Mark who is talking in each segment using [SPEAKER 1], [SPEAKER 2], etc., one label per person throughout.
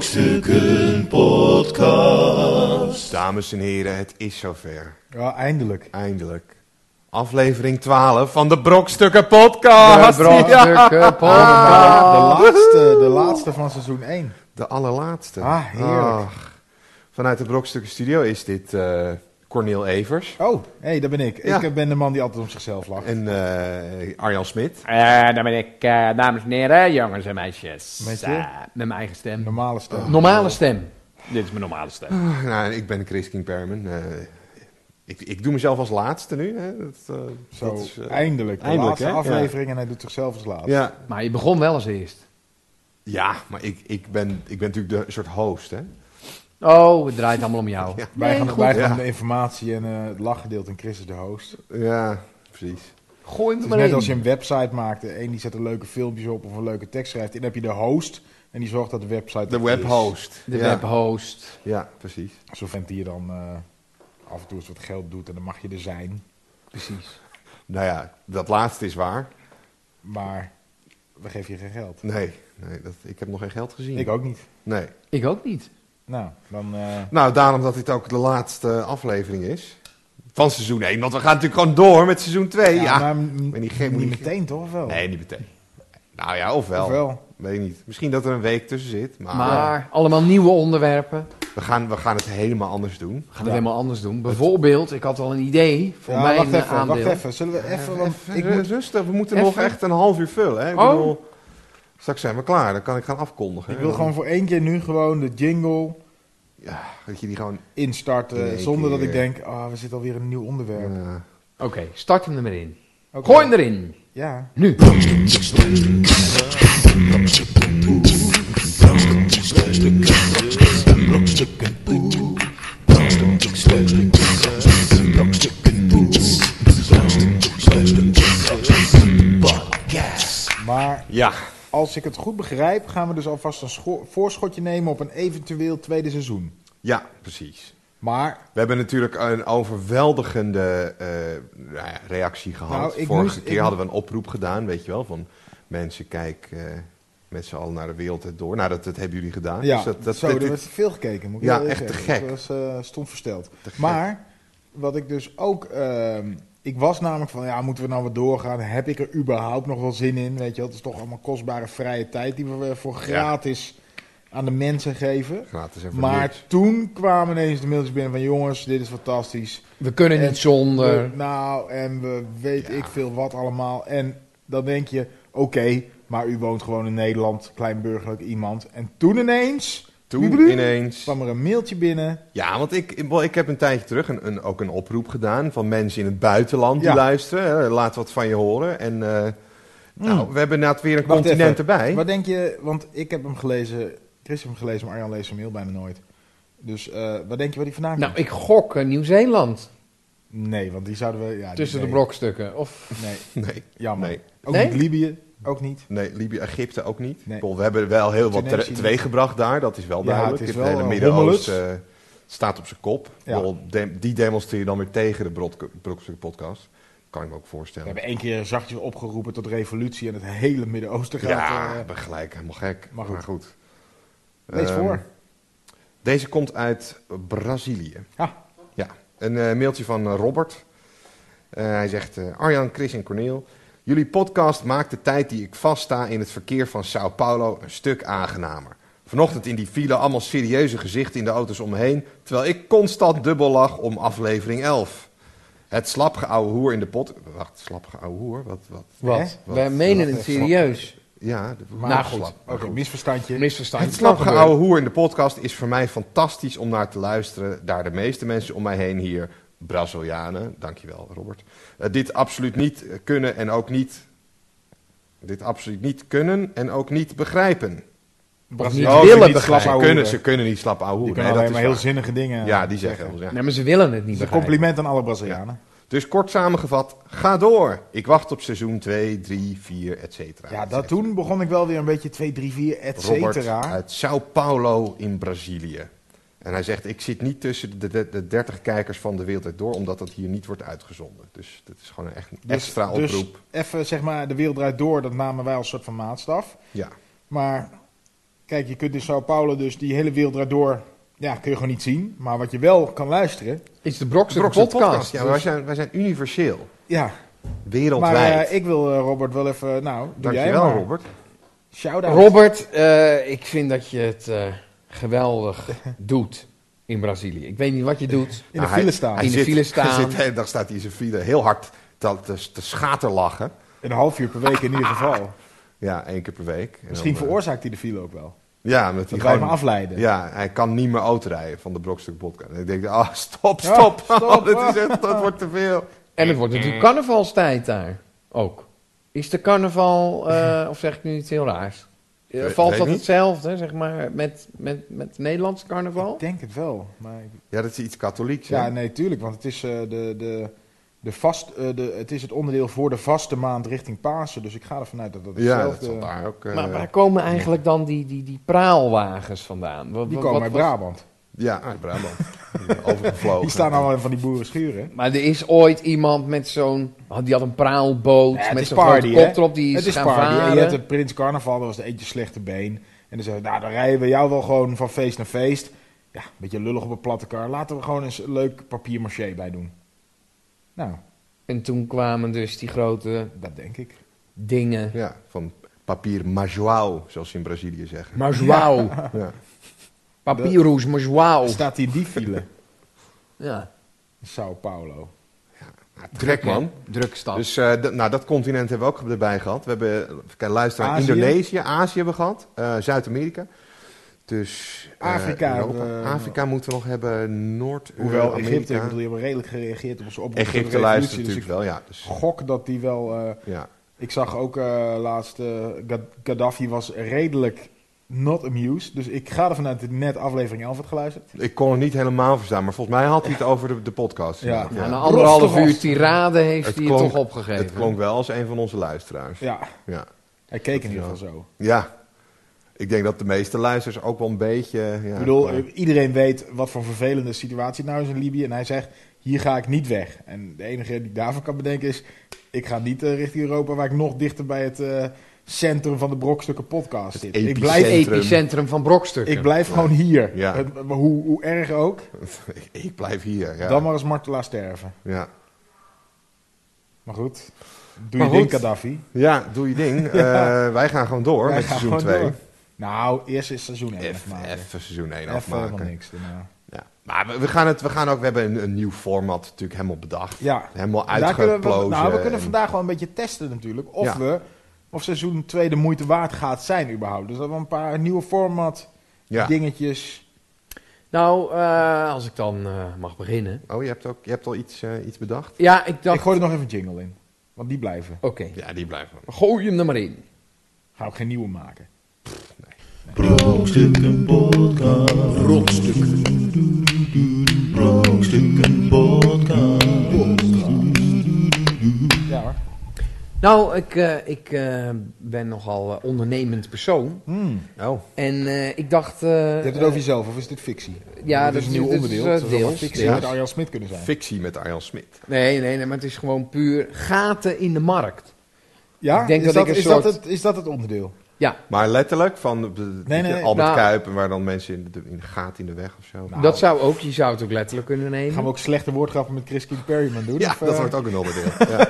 [SPEAKER 1] Brokstukken Podcast.
[SPEAKER 2] Dames en heren, het is zover.
[SPEAKER 3] Ja, eindelijk.
[SPEAKER 2] Eindelijk. Aflevering 12 van de Brokstukken Podcast.
[SPEAKER 4] De Brokstukken
[SPEAKER 2] Ja.
[SPEAKER 4] Podcast.
[SPEAKER 3] de,
[SPEAKER 2] Ah.
[SPEAKER 3] laatste, de laatste van seizoen 1.
[SPEAKER 2] De allerlaatste.
[SPEAKER 3] Ah, heerlijk.
[SPEAKER 2] Ach. Vanuit de Brokstukken Studio is dit eh Cornel Evers
[SPEAKER 3] Oh, hé, hey, daar ben ik.
[SPEAKER 2] Ja.
[SPEAKER 3] Ik ben de man die altijd om zichzelf lacht.
[SPEAKER 2] en eh, Arjan Smit.
[SPEAKER 4] Eh, dan ben ik, eh, dames en heren, jongens en meisjes.
[SPEAKER 3] Met je?
[SPEAKER 4] Eh, met mijn eigen stem.
[SPEAKER 3] Normale stem.
[SPEAKER 4] normale stem. Dit is mijn normale stem.
[SPEAKER 2] Ah, nou, ik ben Chris King Perman. Eh, ik, ik doe mezelf als laatste nu. Hè. Dat, eh,
[SPEAKER 3] Zo,
[SPEAKER 2] dat is, eh,
[SPEAKER 3] eindelijk. De
[SPEAKER 2] eindelijk,
[SPEAKER 3] laatste
[SPEAKER 2] hè?
[SPEAKER 3] aflevering en hij doet zichzelf als laatste.
[SPEAKER 2] ja.
[SPEAKER 4] Maar je begon wel als eerst.
[SPEAKER 2] ja, maar ik, ik, ben, ik ben natuurlijk de soort host. Hè.
[SPEAKER 4] Oh, het draait allemaal om jou.
[SPEAKER 2] Ja.
[SPEAKER 3] Wij gaan, wij gaan
[SPEAKER 2] Ja.
[SPEAKER 3] de informatie en eh, het lachgedeelte en Chris is de host. Het
[SPEAKER 2] Ja, precies.
[SPEAKER 4] Gooi hem
[SPEAKER 3] is
[SPEAKER 4] er maar
[SPEAKER 3] net
[SPEAKER 4] in.
[SPEAKER 3] als je een website maakt. De een die zet er leuke filmpjes op of een leuke tekst schrijft. En dan heb je de host en die zorgt dat de website
[SPEAKER 2] De
[SPEAKER 3] er is.
[SPEAKER 2] webhost.
[SPEAKER 4] De
[SPEAKER 2] ja.
[SPEAKER 4] webhost.
[SPEAKER 2] Ja, precies.
[SPEAKER 3] Zo'n vent die je dan eh, af en toe eens wat geld doet en dan mag je er zijn.
[SPEAKER 4] Precies.
[SPEAKER 2] Nou ja, dat laatste is waar.
[SPEAKER 3] Maar we geven je geen geld.
[SPEAKER 2] Nee, nee dat, ik heb nog geen geld gezien.
[SPEAKER 3] Ik ook niet.
[SPEAKER 2] Nee.
[SPEAKER 4] Ik ook niet.
[SPEAKER 3] Nou, dan... eh,
[SPEAKER 2] Nou, daarom dat dit ook de laatste aflevering is. Van seizoen 1. Want we gaan natuurlijk gewoon door met seizoen 2. Ja,
[SPEAKER 3] maar m-
[SPEAKER 2] ben niet gek,
[SPEAKER 3] niet
[SPEAKER 2] moet je-
[SPEAKER 3] meteen toch of wel?
[SPEAKER 2] Nee, niet meteen. Nou ja, ofwel.
[SPEAKER 3] Of wel?
[SPEAKER 2] Weet niet. Misschien dat er een week tussen zit. Maar,
[SPEAKER 4] Maar allemaal nieuwe onderwerpen. We
[SPEAKER 2] we, gaan, we gaan het helemaal anders doen.
[SPEAKER 4] gaan
[SPEAKER 3] Ja.
[SPEAKER 4] het helemaal anders doen. Bijvoorbeeld, ik had al een idee voor
[SPEAKER 3] Ja,
[SPEAKER 4] mijn
[SPEAKER 3] wacht
[SPEAKER 4] eh,
[SPEAKER 3] even,
[SPEAKER 4] aandeel.
[SPEAKER 3] wacht even. Zullen we even, want
[SPEAKER 2] Eh, Even
[SPEAKER 3] ik moet...
[SPEAKER 2] rustig. We moeten
[SPEAKER 4] Even.
[SPEAKER 2] nog echt een half uur vullen. Hè? Ik
[SPEAKER 4] Oh.
[SPEAKER 2] bedoel, straks zijn we klaar. Dan kan ik gaan afkondigen.
[SPEAKER 3] Ik wil gewoon voor één keer nu gewoon de jingle
[SPEAKER 2] Ja, dat je die gewoon...
[SPEAKER 3] instarten.
[SPEAKER 2] In één
[SPEAKER 3] zonder dat
[SPEAKER 2] keer.
[SPEAKER 3] ik denk, ah, we zitten alweer een nieuw onderwerp.
[SPEAKER 2] eh,
[SPEAKER 4] Oké, start hem er maar in.
[SPEAKER 3] Oké.
[SPEAKER 4] Gooi hem erin.
[SPEAKER 3] Ja.
[SPEAKER 4] Nu.
[SPEAKER 3] Maar
[SPEAKER 2] ja,
[SPEAKER 3] als ik het goed begrijp, gaan we dus alvast een scho- voorschotje nemen op een eventueel tweede seizoen.
[SPEAKER 2] ja, precies.
[SPEAKER 3] Maar
[SPEAKER 2] We hebben natuurlijk een overweldigende eh, nou ja, reactie gehad.
[SPEAKER 3] Nou, ik
[SPEAKER 2] Vorige
[SPEAKER 3] moest-
[SPEAKER 2] keer
[SPEAKER 3] ik-
[SPEAKER 2] hadden we een oproep gedaan, weet je wel, van mensen kijk eh, met z'n allen naar de wereld het door. Nou, dat, dat hebben jullie gedaan.
[SPEAKER 3] ja,
[SPEAKER 2] Dus dat, dat,
[SPEAKER 3] zo,
[SPEAKER 2] dit-
[SPEAKER 3] er
[SPEAKER 2] dit-
[SPEAKER 3] werd veel gekeken. Moet ik
[SPEAKER 2] Ja,
[SPEAKER 3] wel eerlijk
[SPEAKER 2] echt te
[SPEAKER 3] zeggen.
[SPEAKER 2] gek.
[SPEAKER 3] Ik was eh, stond versteld.
[SPEAKER 2] te gek.
[SPEAKER 3] Maar wat ik dus ook. ehm, ik was namelijk van, ja, moeten we nou wat doorgaan? Heb ik er überhaupt nog wel zin in? Weet je, wel? het is toch allemaal kostbare vrije tijd die we eh, voor gratis aan de mensen geven.
[SPEAKER 2] gratis en voor
[SPEAKER 3] Maar
[SPEAKER 2] niks.
[SPEAKER 3] toen kwamen ineens de mailtjes binnen van, jongens, dit is fantastisch.
[SPEAKER 4] We kunnen
[SPEAKER 3] En-
[SPEAKER 4] niet zonder.
[SPEAKER 3] We- nou, en we weet
[SPEAKER 2] Ja.
[SPEAKER 3] ik veel wat allemaal. En dan denk je, oké, maar u woont gewoon in Nederland, kleinburgerlijk iemand. En toen ineens
[SPEAKER 2] Toen
[SPEAKER 3] Wiebeloo?
[SPEAKER 2] ineens.
[SPEAKER 3] kwam er een mailtje binnen.
[SPEAKER 2] Ja, want ik, ik- wel, ik heb een tijdje terug een, een- ook een oproep gedaan van mensen in het buitenland die
[SPEAKER 3] Ja.
[SPEAKER 2] luisteren. hè, Laat wat van je horen. En eh, nou, we hebben inderdaad weer een
[SPEAKER 3] Hmm. Wacht
[SPEAKER 2] continent
[SPEAKER 3] even.
[SPEAKER 2] erbij.
[SPEAKER 3] Wat denk je, want ik heb hem gelezen, Chris heeft hem gelezen, maar Arjan leest zijn mail bijna nooit. Dus eh, wat denk je waar die vandaan
[SPEAKER 4] Nou,
[SPEAKER 3] komt?
[SPEAKER 4] ik gok eh, Nieuw-Zeeland.
[SPEAKER 3] Nee, want die zouden we... Ja, die-
[SPEAKER 4] Tussen de
[SPEAKER 3] nee.
[SPEAKER 4] brokstukken. Of
[SPEAKER 3] Nee,
[SPEAKER 2] Nee,
[SPEAKER 3] jammer.
[SPEAKER 2] Nee.
[SPEAKER 3] Ook
[SPEAKER 4] Nee?
[SPEAKER 3] niet Libië, ook niet.
[SPEAKER 2] Nee, Libië, Egypte ook niet.
[SPEAKER 3] Nee.
[SPEAKER 2] Ik bedoel, We hebben wel heel wat
[SPEAKER 3] Tunesië
[SPEAKER 2] tere-
[SPEAKER 3] niet.
[SPEAKER 2] teweeggebracht daar, dat is wel
[SPEAKER 3] Ja,
[SPEAKER 2] duidelijk.
[SPEAKER 3] het is
[SPEAKER 2] Het,
[SPEAKER 3] wel,
[SPEAKER 2] hele
[SPEAKER 3] eh,
[SPEAKER 2] Midden-Oosten eh, staat op zijn kop. Ik
[SPEAKER 3] Ja.
[SPEAKER 2] bedoel, de- die demonstreer je dan weer tegen de Brok- Brokstuk podcast. Kan ik me ook
[SPEAKER 3] We
[SPEAKER 2] voorstellen.
[SPEAKER 3] hebben één keer zachtjes opgeroepen tot revolutie en het hele Midden-Oosten gaat...
[SPEAKER 2] Ja,
[SPEAKER 3] eh,
[SPEAKER 2] ik ben gelijk, helemaal gek.
[SPEAKER 3] maar goed.
[SPEAKER 2] Maar goed.
[SPEAKER 3] lees
[SPEAKER 2] Ehm,
[SPEAKER 3] voor.
[SPEAKER 2] Deze komt uit Brazilië.
[SPEAKER 3] Ja.
[SPEAKER 2] Ja, een eh, mailtje van eh, Robert. Eh, hij zegt, eh, Arjan, Chris en Corneel. Jullie podcast maakt de tijd die ik vaststa in het verkeer van Sao Paulo een stuk aangenamer. Vanochtend in die file allemaal serieuze gezichten in de auto's omheen, terwijl ik constant dubbel lag om aflevering 11. Het slapgeouwe hoer in de pot... Wacht, slapgeouwe hoer? Wat, wat?
[SPEAKER 4] wat?
[SPEAKER 2] Hè?
[SPEAKER 4] Wij
[SPEAKER 2] Wat?
[SPEAKER 4] menen
[SPEAKER 2] Wat?
[SPEAKER 4] het serieus.
[SPEAKER 2] Ja, de,
[SPEAKER 4] Maar
[SPEAKER 2] maar
[SPEAKER 4] goed.
[SPEAKER 2] slap.
[SPEAKER 3] Oké, misverstandje.
[SPEAKER 4] Misverstand.
[SPEAKER 2] Het slappige ouwe hoer in de podcast is voor mij fantastisch om naar te luisteren. Daar de meeste mensen om mij heen hier, Brazilianen, dankjewel Robert, eh, dit absoluut niet eh, kunnen en ook niet... Dit absoluut niet kunnen en ook niet begrijpen.
[SPEAKER 4] Niet
[SPEAKER 2] Oh,
[SPEAKER 3] ze
[SPEAKER 4] willen
[SPEAKER 2] ze,
[SPEAKER 3] niet slap
[SPEAKER 2] Ze
[SPEAKER 3] ouwe
[SPEAKER 2] kunnen,
[SPEAKER 3] hoeren.
[SPEAKER 2] ze kunnen niet slap ouwe
[SPEAKER 3] Die
[SPEAKER 2] hoeren.
[SPEAKER 3] kunnen
[SPEAKER 2] Nee, dat
[SPEAKER 3] alleen
[SPEAKER 2] is
[SPEAKER 3] maar heel
[SPEAKER 2] waar.
[SPEAKER 3] zinnige dingen.
[SPEAKER 2] Ja, die zeggen heel
[SPEAKER 4] Nee, maar ze willen het niet
[SPEAKER 3] Het is een
[SPEAKER 4] begrijpen.
[SPEAKER 3] compliment aan alle Brazilianen.
[SPEAKER 2] Dus kort samengevat, ga door. Ik wacht op seizoen 2, 3, 4, et cetera.
[SPEAKER 3] Ja, dat toen begon ik wel weer een beetje 2, 3, 4, et
[SPEAKER 2] Robert
[SPEAKER 3] cetera.
[SPEAKER 2] uit Sao Paulo in Brazilië. En hij zegt, ik zit niet tussen de, de, de 30 kijkers van de wereld door, omdat dat hier niet wordt uitgezonden. Dus dat is gewoon een echt een extra
[SPEAKER 3] dus
[SPEAKER 2] oproep.
[SPEAKER 3] even zeg maar, de wereld draait door, dat namen wij als soort van maatstaf.
[SPEAKER 2] ja.
[SPEAKER 3] Maar Kijk, je kunt in Sao Paulo dus die hele wereld daardoor... Ja, kun je gewoon niet zien. Maar wat je wel kan luisteren...
[SPEAKER 5] Is de Brokse
[SPEAKER 2] Brox
[SPEAKER 5] podcast.
[SPEAKER 2] podcast. podcast. Ja,
[SPEAKER 5] Dus-
[SPEAKER 2] maar wij, zijn, wij zijn universeel.
[SPEAKER 3] Ja, maar
[SPEAKER 2] Wereldwijd.
[SPEAKER 3] eh, ik wil eh, Robert wel even... Nou, doe jij
[SPEAKER 2] Dankjewel,
[SPEAKER 3] maar.
[SPEAKER 2] Robert.
[SPEAKER 3] Shout-out.
[SPEAKER 5] Robert, eh, ik vind dat je het eh, geweldig doet in Brazilië. Ik weet niet wat je doet.
[SPEAKER 3] In de
[SPEAKER 2] Nou,
[SPEAKER 3] file
[SPEAKER 2] hij-
[SPEAKER 3] staan.
[SPEAKER 2] hij
[SPEAKER 5] In de
[SPEAKER 2] zit-
[SPEAKER 5] file staan.
[SPEAKER 2] Hij zit de hele dag staat hij in zijn file heel hard te, te, te schaterlachen.
[SPEAKER 3] Een half uur per week in ieder geval.
[SPEAKER 2] Ja, één keer per week. En
[SPEAKER 3] Misschien
[SPEAKER 2] dan, eh,
[SPEAKER 3] veroorzaakt hij de file ook wel.
[SPEAKER 2] Ja, omdat hij
[SPEAKER 3] Dat wij me
[SPEAKER 2] gewoon...
[SPEAKER 3] afleiden.
[SPEAKER 2] Ja, hij kan niet meer autorijden van de Brokstuk podcast. En ik denk, ah, stop, stop.
[SPEAKER 3] Ja, stop.
[SPEAKER 2] dit is echt, dat wordt te veel.
[SPEAKER 5] En het wordt natuurlijk carnavalstijd daar ook. Is de carnaval, eh, of zeg ik nu iets heel raars? Eh,
[SPEAKER 2] Weet-
[SPEAKER 5] Valt
[SPEAKER 2] weet
[SPEAKER 5] dat
[SPEAKER 2] niet.
[SPEAKER 5] hetzelfde, zeg maar, met, met, met het Nederlandse carnaval?
[SPEAKER 3] Ik denk het wel. Maar ik-
[SPEAKER 2] Ja, dat is iets katholieks. hè?
[SPEAKER 3] ja, nee, tuurlijk. Want het is, eh, de, de, de vast, eh, de, het is het onderdeel voor de vaste maand richting Pasen. Dus ik ga ervan uit dat dat
[SPEAKER 2] ja dat
[SPEAKER 3] hetzelfde...
[SPEAKER 2] zal daar ook... eh,
[SPEAKER 5] Maar waar komen eigenlijk dan die, die, die praalwagens vandaan? Wat-
[SPEAKER 3] die
[SPEAKER 5] wat-
[SPEAKER 3] komen
[SPEAKER 5] wat-
[SPEAKER 3] uit Brabant.
[SPEAKER 2] Ja, uit Brabant. Overgevlogen.
[SPEAKER 3] Ah. Die staan allemaal in van die boerenschuren.
[SPEAKER 5] Maar er is ooit iemand met zo'n... had- Die had een praalboot
[SPEAKER 3] Ja, het
[SPEAKER 5] met
[SPEAKER 3] is
[SPEAKER 5] zo'n grote
[SPEAKER 3] party, hè?
[SPEAKER 5] kop erop. Die
[SPEAKER 3] het
[SPEAKER 5] is
[SPEAKER 3] is
[SPEAKER 5] gaan
[SPEAKER 3] party. En
[SPEAKER 5] varen.
[SPEAKER 3] je hebt het Prins Carnaval, dat was de eentje slechte been. En dan zeggen we, nou dan rijden we jou wel gewoon van feest naar feest. Ja, een beetje lullig op een platte kar. Laten we gewoon eens een leuk papier maché bij doen. Nou,
[SPEAKER 5] En toen kwamen dus die grote
[SPEAKER 3] dat denk ik.
[SPEAKER 5] dingen.
[SPEAKER 2] Ja, van papier majoau, zoals ze in Brazilië zeggen.
[SPEAKER 5] Maar zwauw.
[SPEAKER 2] Ja.
[SPEAKER 5] Papyrus, maar zwauw.
[SPEAKER 3] Staat hij in die file?
[SPEAKER 5] Ja.
[SPEAKER 3] in Sao Paulo.
[SPEAKER 2] Ja, trek, man.
[SPEAKER 5] Drukstad.
[SPEAKER 2] Dus eh, dat- nou, dat continent hebben we ook erbij gehad. We hebben, even kijken, luisteren,
[SPEAKER 3] Azië.
[SPEAKER 2] Indonesië, Azië hebben we gehad, eh, Zuid-Amerika. Dus eh,
[SPEAKER 3] Afrika
[SPEAKER 2] Europa.
[SPEAKER 3] hebben we-
[SPEAKER 2] Afrika moeten we nog hebben,
[SPEAKER 3] Hoewel
[SPEAKER 2] Noord-Amerika.
[SPEAKER 3] Egypte, ik bedoel, die hebben redelijk gereageerd op onze op
[SPEAKER 2] Egypte luistert natuurlijk wel, ja. Dus,
[SPEAKER 3] Gok dat die wel. eh,
[SPEAKER 2] ja.
[SPEAKER 3] ik zag ook eh, laatst. eh, Gad- Gaddafi was redelijk not amused. Dus ik ga ervan uit dat hij net aflevering 11 had geluisterd.
[SPEAKER 2] Ik kon het niet helemaal verstaan, maar volgens mij had hij het over de, de podcast.
[SPEAKER 3] Ja. nou,
[SPEAKER 2] inderdaad,
[SPEAKER 5] Na
[SPEAKER 2] ja.
[SPEAKER 5] een anderhalf
[SPEAKER 3] Rottergast.
[SPEAKER 5] uur tirade heeft
[SPEAKER 2] Het
[SPEAKER 5] hij het
[SPEAKER 2] klonk-
[SPEAKER 5] toch opgegeven.
[SPEAKER 2] Het klonk wel als een van onze luisteraars.
[SPEAKER 3] Ja,
[SPEAKER 2] Ja.
[SPEAKER 3] hij keek in ieder geval zo.
[SPEAKER 2] ja. Ik denk dat de meeste luisteraars ook wel een beetje... Ja,
[SPEAKER 3] ik bedoel,
[SPEAKER 2] maar-
[SPEAKER 3] eh, iedereen weet wat voor vervelende situatie het nou is in Libië. En hij zegt: hier ga ik niet weg. En de enige die ik daarvan kan bedenken is: ik ga niet eh, richting Europa, waar ik nog dichter bij het eh, centrum van de brokstukken podcast zit. Ik
[SPEAKER 2] epicentrum.
[SPEAKER 3] blijf
[SPEAKER 5] Het epicentrum van brokstukken.
[SPEAKER 3] Ik blijf gewoon hier.
[SPEAKER 2] Ja.
[SPEAKER 3] Het- hoe, hoe erg ook.
[SPEAKER 2] ik, ik blijf hier, ja.
[SPEAKER 3] Dan maar als martelaar sterven.
[SPEAKER 2] ja.
[SPEAKER 3] Maar goed. Doe
[SPEAKER 5] Maar
[SPEAKER 3] je ding,
[SPEAKER 5] goed.
[SPEAKER 3] Gaddafi.
[SPEAKER 2] Ja, doe je ding. Eh, wij gaan gewoon door
[SPEAKER 3] Wij
[SPEAKER 2] met
[SPEAKER 3] gaan
[SPEAKER 2] seizoen
[SPEAKER 3] gewoon
[SPEAKER 2] 2.
[SPEAKER 3] door. Nou, eerst is seizoen 1
[SPEAKER 2] Even
[SPEAKER 3] afmaken.
[SPEAKER 2] even seizoen 1
[SPEAKER 3] Even helemaal
[SPEAKER 2] afmaken.
[SPEAKER 3] niks daarna.
[SPEAKER 2] Ja. Maar we, we gaan het, we gaan ook, we hebben een, een nieuw format natuurlijk helemaal bedacht.
[SPEAKER 3] Ja.
[SPEAKER 2] Helemaal
[SPEAKER 3] Daar kunnen
[SPEAKER 2] uitgeplozen.
[SPEAKER 3] we, nou, we kunnen
[SPEAKER 2] en-
[SPEAKER 3] vandaag wel een beetje testen natuurlijk. Of,
[SPEAKER 2] Ja.
[SPEAKER 3] we, of seizoen 2 de moeite waard gaat zijn überhaupt. Dus dat we een paar nieuwe format
[SPEAKER 2] ja.
[SPEAKER 3] dingetjes.
[SPEAKER 5] Nou, eh, als ik dan eh, mag beginnen.
[SPEAKER 2] Oh, je hebt, ook, je hebt al iets, eh, iets bedacht?
[SPEAKER 5] Ja, ik dacht...
[SPEAKER 3] Ik gooi er nog even een jingle in. Want die blijven.
[SPEAKER 5] Oké,
[SPEAKER 2] Ja, die blijven.
[SPEAKER 5] gooi hem er maar in.
[SPEAKER 3] Ga ik geen nieuwe maken.
[SPEAKER 1] Brokstukken podcast. Brokstukken podcast.
[SPEAKER 3] Ja hoor.
[SPEAKER 5] Nou, ik, eh, ik eh, ben nogal eh, ondernemend persoon.
[SPEAKER 3] Hmm.
[SPEAKER 2] Oh.
[SPEAKER 5] En eh, ik dacht... eh,
[SPEAKER 3] Je hebt het over jezelf, of is dit fictie?
[SPEAKER 5] ja,
[SPEAKER 3] Dit
[SPEAKER 5] dat
[SPEAKER 3] is
[SPEAKER 5] is-
[SPEAKER 3] een nieuw
[SPEAKER 5] dit is,
[SPEAKER 3] onderdeel.
[SPEAKER 5] eh,
[SPEAKER 3] Het zou zomaar
[SPEAKER 5] deels,
[SPEAKER 3] fictie
[SPEAKER 5] deels.
[SPEAKER 3] met Arjan Smit kunnen zijn.
[SPEAKER 2] Fictie met Arjan Smit.
[SPEAKER 5] Nee, nee, nee, maar het is gewoon puur gaten in de markt.
[SPEAKER 3] Ja,
[SPEAKER 5] Ik denk
[SPEAKER 3] is,
[SPEAKER 5] dat
[SPEAKER 3] dat,
[SPEAKER 5] ik een
[SPEAKER 3] is,
[SPEAKER 5] soort-
[SPEAKER 3] dat het, is dat het onderdeel?
[SPEAKER 5] Ja,
[SPEAKER 2] Maar letterlijk van de- de-
[SPEAKER 3] Nee, nee, nee.
[SPEAKER 2] Albert
[SPEAKER 5] Nou.
[SPEAKER 2] Kuip, waar dan mensen in de, in de gaten in de weg of zo.
[SPEAKER 3] Nou.
[SPEAKER 5] dat zou ook. Je zou het ook letterlijk kunnen nemen.
[SPEAKER 3] Gaan we ook slechte woordgrappen met Chris King Perryman doen?
[SPEAKER 2] ja,
[SPEAKER 3] Of,
[SPEAKER 2] dat
[SPEAKER 3] eh,
[SPEAKER 2] wordt ook een onderdeel. ja.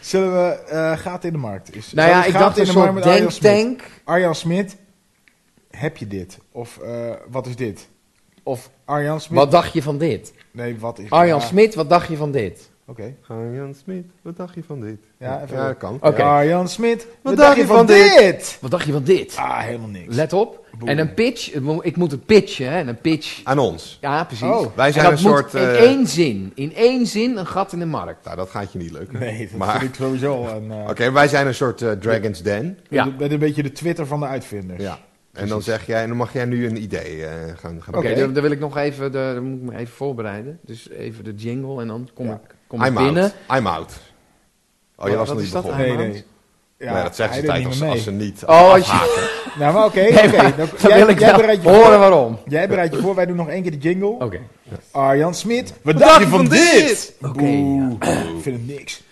[SPEAKER 3] Zullen we eh gaat in de markt? Is,
[SPEAKER 5] nou
[SPEAKER 3] dat
[SPEAKER 5] ja,
[SPEAKER 3] is
[SPEAKER 5] ik
[SPEAKER 3] Gaten
[SPEAKER 5] dacht een
[SPEAKER 3] in de markt
[SPEAKER 5] soort
[SPEAKER 3] met Arjan Smit.
[SPEAKER 5] denktank.
[SPEAKER 3] Arjan Smit, heb je dit? Of eh, wat is dit?
[SPEAKER 5] Of
[SPEAKER 3] Arjan Smit?
[SPEAKER 5] wat dacht je van dit?
[SPEAKER 3] Nee, wat is
[SPEAKER 5] Arjan
[SPEAKER 3] ja,
[SPEAKER 5] Smit, wat dacht je van dit?
[SPEAKER 3] Oké.
[SPEAKER 2] Arjan Smit, wat dacht je van dit?
[SPEAKER 3] Ja, even-
[SPEAKER 2] dat kan.
[SPEAKER 5] Oké.
[SPEAKER 3] Arjan Smit, wat, dacht je van dit?
[SPEAKER 5] Wat dacht je van dit?
[SPEAKER 3] Ah, helemaal niks.
[SPEAKER 5] Let op. En een pitch. het mo- Ik moet het pitchen, hè? En een pitch.
[SPEAKER 2] Aan ons.
[SPEAKER 5] Ja, precies.
[SPEAKER 3] Oh.
[SPEAKER 2] Wij
[SPEAKER 5] En
[SPEAKER 2] zijn
[SPEAKER 5] dat
[SPEAKER 2] een
[SPEAKER 5] moet
[SPEAKER 2] soort...
[SPEAKER 5] In
[SPEAKER 2] eh,
[SPEAKER 5] één zin. In één zin een gat in de markt.
[SPEAKER 2] Nou, dat gaat je niet lukken.
[SPEAKER 3] nee, dat
[SPEAKER 2] maar,
[SPEAKER 3] vind ik sowieso een... eh
[SPEAKER 2] Oké, wij zijn een soort eh, Dragon's Den.
[SPEAKER 5] Ja.
[SPEAKER 3] met, met een beetje de Twitter van de uitvinders.
[SPEAKER 2] Ja. En dan zeg jij, en dan mag jij nu een idee eh, gaan, gaan
[SPEAKER 5] Oké, dan, dan wil ik nog even. De, dan moet ik me even voorbereiden. Dus even de jingle en dan kom
[SPEAKER 3] Ja.
[SPEAKER 5] ik, kom ik
[SPEAKER 2] I'm
[SPEAKER 5] binnen.
[SPEAKER 2] out. I'm out. Oh, je was
[SPEAKER 5] Wat- wat
[SPEAKER 2] nog niet
[SPEAKER 5] is dat
[SPEAKER 2] begonnen.
[SPEAKER 3] Nee,
[SPEAKER 5] Arjan
[SPEAKER 3] nee. Ja,
[SPEAKER 2] nee, dat zeggen
[SPEAKER 3] hij
[SPEAKER 2] ze
[SPEAKER 3] deed
[SPEAKER 2] tijd
[SPEAKER 3] niet
[SPEAKER 2] als,
[SPEAKER 3] meer
[SPEAKER 2] als
[SPEAKER 3] mee.
[SPEAKER 2] ze niet
[SPEAKER 5] Oh, als je-
[SPEAKER 2] afhaken.
[SPEAKER 3] Nou, maar oké,
[SPEAKER 5] Nee,
[SPEAKER 3] oké.
[SPEAKER 5] maar
[SPEAKER 3] Dan-
[SPEAKER 5] Dan
[SPEAKER 3] jij-
[SPEAKER 5] wil ik
[SPEAKER 3] jij
[SPEAKER 5] wel
[SPEAKER 3] bereidt je
[SPEAKER 5] horen Oh.
[SPEAKER 3] voor.
[SPEAKER 5] waarom. Oké.
[SPEAKER 3] Jij bereidt je voor, wij doen nog één keer de jingle. Arjan Smit, wat,
[SPEAKER 5] dacht
[SPEAKER 3] dacht
[SPEAKER 5] je
[SPEAKER 3] je van
[SPEAKER 5] van
[SPEAKER 3] dit?
[SPEAKER 5] Oké,
[SPEAKER 3] Boe. Ik vind het niks.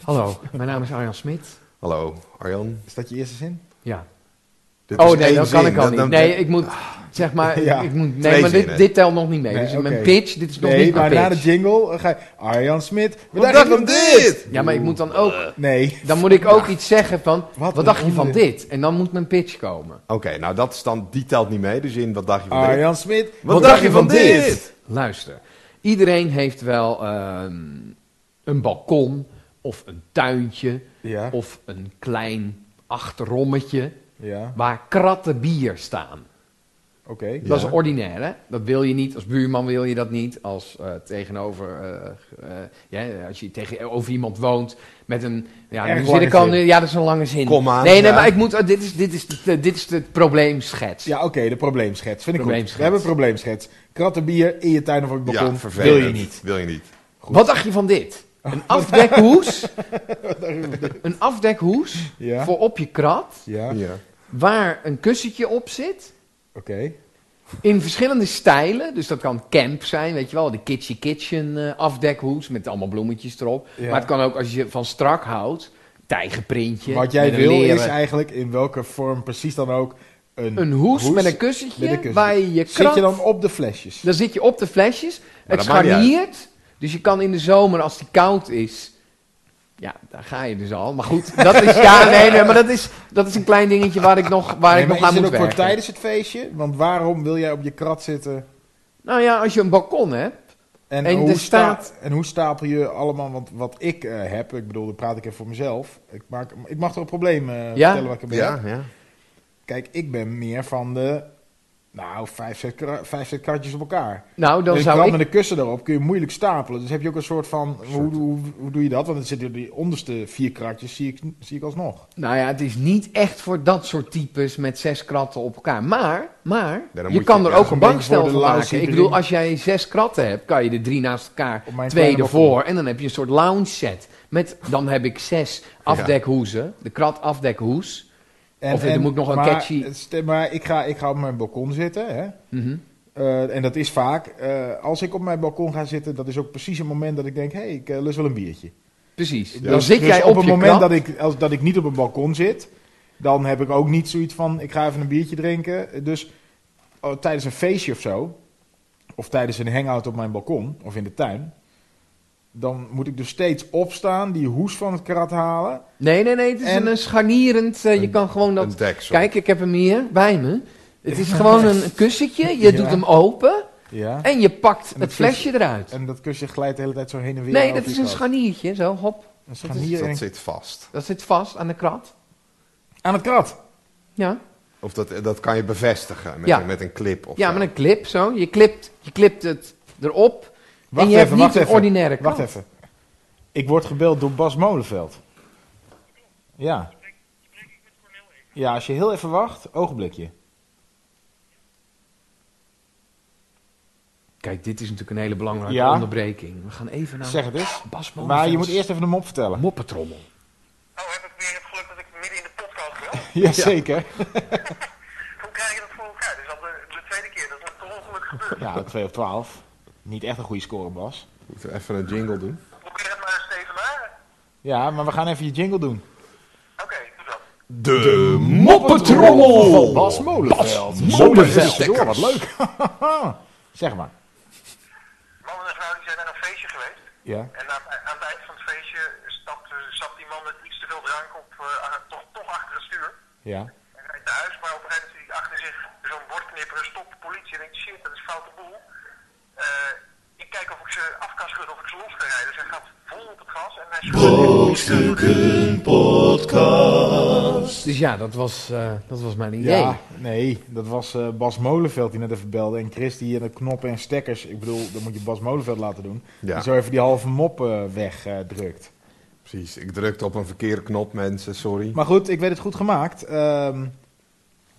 [SPEAKER 5] Hallo, mijn naam is Arjan Smit.
[SPEAKER 2] Hallo, Arjan.
[SPEAKER 3] Is dat je eerste zin?
[SPEAKER 5] Ja.
[SPEAKER 2] Dit
[SPEAKER 5] Oh
[SPEAKER 2] is
[SPEAKER 5] nee,
[SPEAKER 2] één
[SPEAKER 5] dat kan
[SPEAKER 2] zin.
[SPEAKER 5] ik al
[SPEAKER 2] Dan-
[SPEAKER 5] niet.
[SPEAKER 2] dan-
[SPEAKER 5] nee, ik moet, zeg maar,
[SPEAKER 3] Ja.
[SPEAKER 5] ik moet, nee,
[SPEAKER 2] Twee
[SPEAKER 5] maar dit,
[SPEAKER 2] zinnen.
[SPEAKER 5] dit telt nog niet mee.
[SPEAKER 3] Nee,
[SPEAKER 5] dus
[SPEAKER 3] oké.
[SPEAKER 5] mijn pitch, dit is nog
[SPEAKER 3] Nee,
[SPEAKER 5] niet
[SPEAKER 3] maar
[SPEAKER 5] mijn
[SPEAKER 3] na de
[SPEAKER 5] pitch.
[SPEAKER 3] jingle eh, ga je... Arjan Smit, we
[SPEAKER 2] Wat
[SPEAKER 3] dachten
[SPEAKER 2] dacht
[SPEAKER 3] van
[SPEAKER 2] je
[SPEAKER 3] dit?
[SPEAKER 5] Ja, maar ik moet dan ook,
[SPEAKER 3] Nee.
[SPEAKER 5] dan moet ik ook iets zeggen van, wat,
[SPEAKER 3] Wat een
[SPEAKER 5] dacht je van
[SPEAKER 3] onzin.
[SPEAKER 5] dit? En dan moet mijn pitch komen.
[SPEAKER 2] Oké, nou dat is dan, die telt niet mee. Dus in wat dacht je van dit?
[SPEAKER 3] Arjan Smit,
[SPEAKER 2] Wat, dacht je van dit?
[SPEAKER 5] Luister, iedereen heeft wel ehm, een balkon of een tuintje
[SPEAKER 3] Ja,
[SPEAKER 5] of een klein achterrommetje
[SPEAKER 3] ja,
[SPEAKER 5] waar kratten bier staan.
[SPEAKER 3] oké.
[SPEAKER 5] Dat
[SPEAKER 2] Ja.
[SPEAKER 5] is ordinair, hè? Dat wil je niet. Als buurman wil je dat niet. Als eh, tegenover... eh, eh, ja, als je tegenover iemand woont met een... Ja,
[SPEAKER 3] Erg
[SPEAKER 5] nu zit
[SPEAKER 3] lange
[SPEAKER 5] ik al,
[SPEAKER 3] zin.
[SPEAKER 5] nu- ja, dat is een lange zin.
[SPEAKER 2] Kom aan,
[SPEAKER 5] nee, nee,
[SPEAKER 2] ja.
[SPEAKER 5] maar ik moet... eh, dit, is, dit, is de, dit is de probleemschets.
[SPEAKER 3] Ja, oké, de probleemschets. Vind ik goed.
[SPEAKER 5] Probleemschets.
[SPEAKER 3] We hebben een probleemschets. Kratten bier in je tuin of op het balkon.
[SPEAKER 2] Ja, vervelend.
[SPEAKER 3] wil je niet.
[SPEAKER 2] Wil je niet.
[SPEAKER 5] Wat dacht je van dit? Een afdekhoes. een afdekhoes
[SPEAKER 3] Ja.
[SPEAKER 5] voor op je krat.
[SPEAKER 3] Ja,
[SPEAKER 2] Ja.
[SPEAKER 5] Waar een kussentje op zit.
[SPEAKER 3] oké.
[SPEAKER 5] In verschillende stijlen. Dus dat kan camp zijn, weet je wel. De kitschy kitchen eh, afdekhoes met allemaal bloemetjes erop.
[SPEAKER 3] Ja.
[SPEAKER 5] Maar het kan ook als je van strak houdt. Tijgerprintje.
[SPEAKER 3] Wat jij
[SPEAKER 5] met een
[SPEAKER 3] wil
[SPEAKER 5] leren-
[SPEAKER 3] is eigenlijk in welke vorm precies dan ook een,
[SPEAKER 5] Een hoes, met een kussentje.
[SPEAKER 3] met een kussentje.
[SPEAKER 5] Waar je je krat...
[SPEAKER 3] Zit je dan op de flesjes?
[SPEAKER 5] Dan zit je op de flesjes. het
[SPEAKER 2] dat maakt niet
[SPEAKER 5] scharniert. Dus je kan in de zomer, als die koud is. Ja, daar ga je dus al. Maar goed, dat is. Ja, nee, nee, maar dat is, dat is een klein dingetje waar ik nog, waar
[SPEAKER 3] Nee,
[SPEAKER 5] ik
[SPEAKER 3] maar
[SPEAKER 5] nog
[SPEAKER 3] is
[SPEAKER 5] aan
[SPEAKER 3] het
[SPEAKER 5] moet
[SPEAKER 3] ook voor
[SPEAKER 5] werken.
[SPEAKER 3] tijdens het feestje? Want waarom wil jij op je krat zitten?
[SPEAKER 5] Nou ja, als je een balkon hebt.
[SPEAKER 3] En,
[SPEAKER 5] En
[SPEAKER 3] hoe,
[SPEAKER 5] er
[SPEAKER 3] staat...
[SPEAKER 5] staat-
[SPEAKER 3] en hoe stapel je allemaal, want wat ik eh, heb, ik bedoel, dat praat ik even voor mezelf. Ik, maak, ik mag toch een probleem eh, vertellen wat ik heb.
[SPEAKER 2] Ja, ja.
[SPEAKER 3] Kijk, ik ben meer van de, nou, vijf, zes, kra- vijf, zes kratjes op elkaar.
[SPEAKER 5] Nou, dan
[SPEAKER 3] dus
[SPEAKER 5] zou
[SPEAKER 3] krab
[SPEAKER 5] ik.
[SPEAKER 3] met een kussen erop kun je moeilijk stapelen. Dus heb je ook een soort van, hoe, hoe, hoe doe je dat? Want dan zitten die onderste vier kratjes, zie ik, zie ik alsnog.
[SPEAKER 5] Nou ja, het is niet echt voor dat soort types met zes kratten op elkaar. Maar, maar
[SPEAKER 2] Ja, dan
[SPEAKER 5] je
[SPEAKER 2] moet
[SPEAKER 5] kan
[SPEAKER 2] je-
[SPEAKER 5] er
[SPEAKER 2] ja,
[SPEAKER 5] ook een
[SPEAKER 3] dan ben je
[SPEAKER 5] bankstel
[SPEAKER 3] voor de
[SPEAKER 5] van
[SPEAKER 3] lounge
[SPEAKER 5] maken. Ik
[SPEAKER 3] hybrid.
[SPEAKER 5] bedoel, als jij zes kratten hebt, kan je er drie naast elkaar,
[SPEAKER 3] Op mijn
[SPEAKER 5] twee
[SPEAKER 3] kleine balkon.
[SPEAKER 5] ervoor. En dan heb je een soort lounge set. Met, dan heb ik zes afdekhoezen. De krat afdekhoes.
[SPEAKER 3] En,
[SPEAKER 5] Of er
[SPEAKER 3] en-
[SPEAKER 5] moet nog een
[SPEAKER 3] maar,
[SPEAKER 5] catchy-
[SPEAKER 3] het stem- Maar ik ga, ik ga op mijn balkon zitten, hè.
[SPEAKER 5] Mhm.
[SPEAKER 3] Eh, en dat is vaak, eh, als ik op mijn balkon ga zitten, dat is ook precies een moment dat ik denk, hé, hey, ik eh, lust wel een biertje.
[SPEAKER 5] Precies.
[SPEAKER 3] Dus-
[SPEAKER 5] Dan zit
[SPEAKER 3] dus
[SPEAKER 5] jij op,
[SPEAKER 3] het
[SPEAKER 5] je
[SPEAKER 3] moment
[SPEAKER 5] krat.
[SPEAKER 3] dat ik, als, dat ik niet op een balkon zit, dan heb ik ook niet zoiets van, ik ga even een biertje drinken. Dus oh, tijdens een feestje of zo, of tijdens een hangout op mijn balkon of in de tuin, dan moet ik dus steeds opstaan, die hoes van het krat halen.
[SPEAKER 5] Nee, nee, nee. Het is
[SPEAKER 3] En-
[SPEAKER 5] een, eh, scharnierend... eh, je kan gewoon dat...
[SPEAKER 2] Een deksel.
[SPEAKER 5] Kijk, ik heb hem hier bij me. Het is gewoon een kussentje. Je
[SPEAKER 3] Ja.
[SPEAKER 5] doet hem open.
[SPEAKER 3] Ja.
[SPEAKER 5] En je pakt
[SPEAKER 3] En
[SPEAKER 5] het
[SPEAKER 3] dat
[SPEAKER 5] flesje eruit.
[SPEAKER 3] En dat kusje glijdt de hele tijd zo heen en weer.
[SPEAKER 5] Nee,
[SPEAKER 3] over
[SPEAKER 5] dat
[SPEAKER 3] je
[SPEAKER 5] is een
[SPEAKER 3] krat.
[SPEAKER 5] scharniertje. Zo, hop.
[SPEAKER 3] Een scharnier en-
[SPEAKER 2] Dat zit vast.
[SPEAKER 5] Dat zit vast aan de krat.
[SPEAKER 3] Aan het krat.
[SPEAKER 5] Ja,
[SPEAKER 2] Of dat, dat kan je bevestigen met,
[SPEAKER 5] Ja.
[SPEAKER 2] een, met een clip of
[SPEAKER 5] ja
[SPEAKER 2] zo.
[SPEAKER 5] met een clip zo. Je klipt, je klipt het erop.
[SPEAKER 3] Wacht
[SPEAKER 5] en je
[SPEAKER 3] even,
[SPEAKER 5] hebt
[SPEAKER 3] wacht
[SPEAKER 5] niet
[SPEAKER 3] even.
[SPEAKER 5] een ordinaire krat.
[SPEAKER 3] Wacht even. Ik word gebeld door Bas Molenveld. Ja. Ja, als je heel even wacht, ogenblikje.
[SPEAKER 5] Kijk, dit is natuurlijk een hele belangrijke
[SPEAKER 3] Ja.
[SPEAKER 5] onderbreking. We gaan even naar
[SPEAKER 3] Zeg het eens.
[SPEAKER 5] Bas
[SPEAKER 3] Maar je moet
[SPEAKER 5] Molenvelds
[SPEAKER 3] eerst even de mop vertellen.
[SPEAKER 5] moppetrommel.
[SPEAKER 6] Oh, heb ik weer het geluk dat ik midden in de podcast wel?
[SPEAKER 3] Jazeker.
[SPEAKER 6] Hoe krijg je dat voor elkaar? Dit is al de, de tweede keer dat het per ongeluk gebeurt.
[SPEAKER 3] Ja, 2 op 12. Niet echt een goede score, Bas.
[SPEAKER 2] Moeten we even een jingle doen?
[SPEAKER 6] Probeer het maar eens te even na.
[SPEAKER 3] Ja, maar we gaan even je jingle doen.
[SPEAKER 6] Oké, doe dat.
[SPEAKER 2] De
[SPEAKER 5] Moppetrommel!
[SPEAKER 3] Van Bas Molenveld. Molenveld. Joh, wat leuk. zeg maar.
[SPEAKER 6] Mannen en vrouwen die zijn naar een feestje geweest.
[SPEAKER 3] Ja.
[SPEAKER 6] En aan, aan het eind van het feestje stapt, eh, stapt die man met iets te veel drank op, eh, aan- toch, toch achter het stuur.
[SPEAKER 3] Ja.
[SPEAKER 6] En rijdt naar huis, maar op een gegeven moment ziet hij achter zich zo'n bord knipperen, stopt de politie en denkt, shit, dat is foute boel. Eh, ik kijk of ik ze af kan schudden of ik ze los kan rijden. Dus hij gaat vol op het gas en hij
[SPEAKER 3] Oh.
[SPEAKER 6] schudt.
[SPEAKER 1] Brokstukken podcast.
[SPEAKER 5] Dus ja, dat was, eh, dat was mijn idee.
[SPEAKER 3] Ja, nee, dat was eh, Bas Molenveld die net even belde. En Chris die in de knoppen en stekkers. Ik bedoel, dat moet je Bas Molenveld laten doen.
[SPEAKER 2] Ja.
[SPEAKER 3] Die zo even die halve mop eh, wegdrukt.
[SPEAKER 2] Precies. Ik drukte op een verkeerde knop, mensen. Sorry.
[SPEAKER 3] maar goed, ik weet het goed gemaakt. Ehm,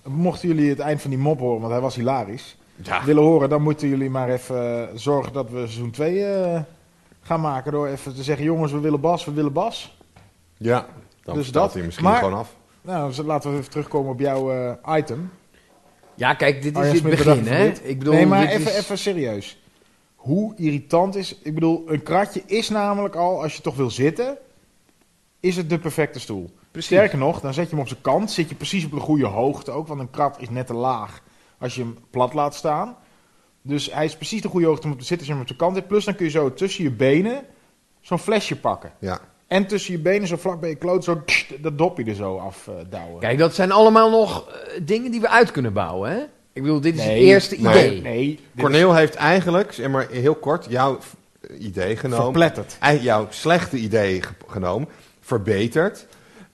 [SPEAKER 3] mochten jullie het eind van die mop horen, want hij was hilarisch,
[SPEAKER 2] Ja.
[SPEAKER 3] willen horen, dan moeten jullie maar even eh, zorgen dat we seizoen 2 gaan maken. Door even te zeggen: jongens, we willen Bas, we willen Bas.
[SPEAKER 2] Ja. Dan
[SPEAKER 3] Dus
[SPEAKER 2] dus
[SPEAKER 3] dat.
[SPEAKER 2] hij misschien
[SPEAKER 3] Maar-
[SPEAKER 2] gewoon af.
[SPEAKER 3] Nou, dus laten we even terugkomen op jouw eh, item.
[SPEAKER 5] Ja, kijk, dit is
[SPEAKER 3] Arjan
[SPEAKER 5] het
[SPEAKER 3] Smit,
[SPEAKER 5] begin,
[SPEAKER 3] bedankt voor
[SPEAKER 5] hè?
[SPEAKER 3] dit.
[SPEAKER 5] Ik bedoel,
[SPEAKER 3] nee, maar
[SPEAKER 5] dit
[SPEAKER 3] even,
[SPEAKER 5] is-
[SPEAKER 3] even serieus. Hoe irritant is... Ik bedoel, een kratje is namelijk al, als je toch wil zitten... is het de perfecte stoel. Sterker nog, dan zet je hem op zijn kant. Zit je precies op de goede hoogte ook. Want een krat is net te laag als je hem plat laat staan. Dus hij is precies de goede hoogte om op te zitten als je hem op zijn kant hebt. Plus dan kun je zo tussen je benen zo'n flesje pakken.
[SPEAKER 2] Ja.
[SPEAKER 3] En tussen je benen zo vlak bij je kloot zo kst, dat dopje er zo afdouwen.
[SPEAKER 5] Kijk, dat zijn allemaal nog eh, dingen die we uit kunnen bouwen, hè? Ik bedoel, dit is
[SPEAKER 3] Nee,
[SPEAKER 5] het eerste
[SPEAKER 2] nee,
[SPEAKER 5] idee.
[SPEAKER 3] nee, dit is
[SPEAKER 2] Corneel heeft eigenlijk, zeg maar heel kort, jouw v- idee genomen.
[SPEAKER 3] verpletterd.
[SPEAKER 2] ei- Jouw slechte idee ge- genomen, verbeterd.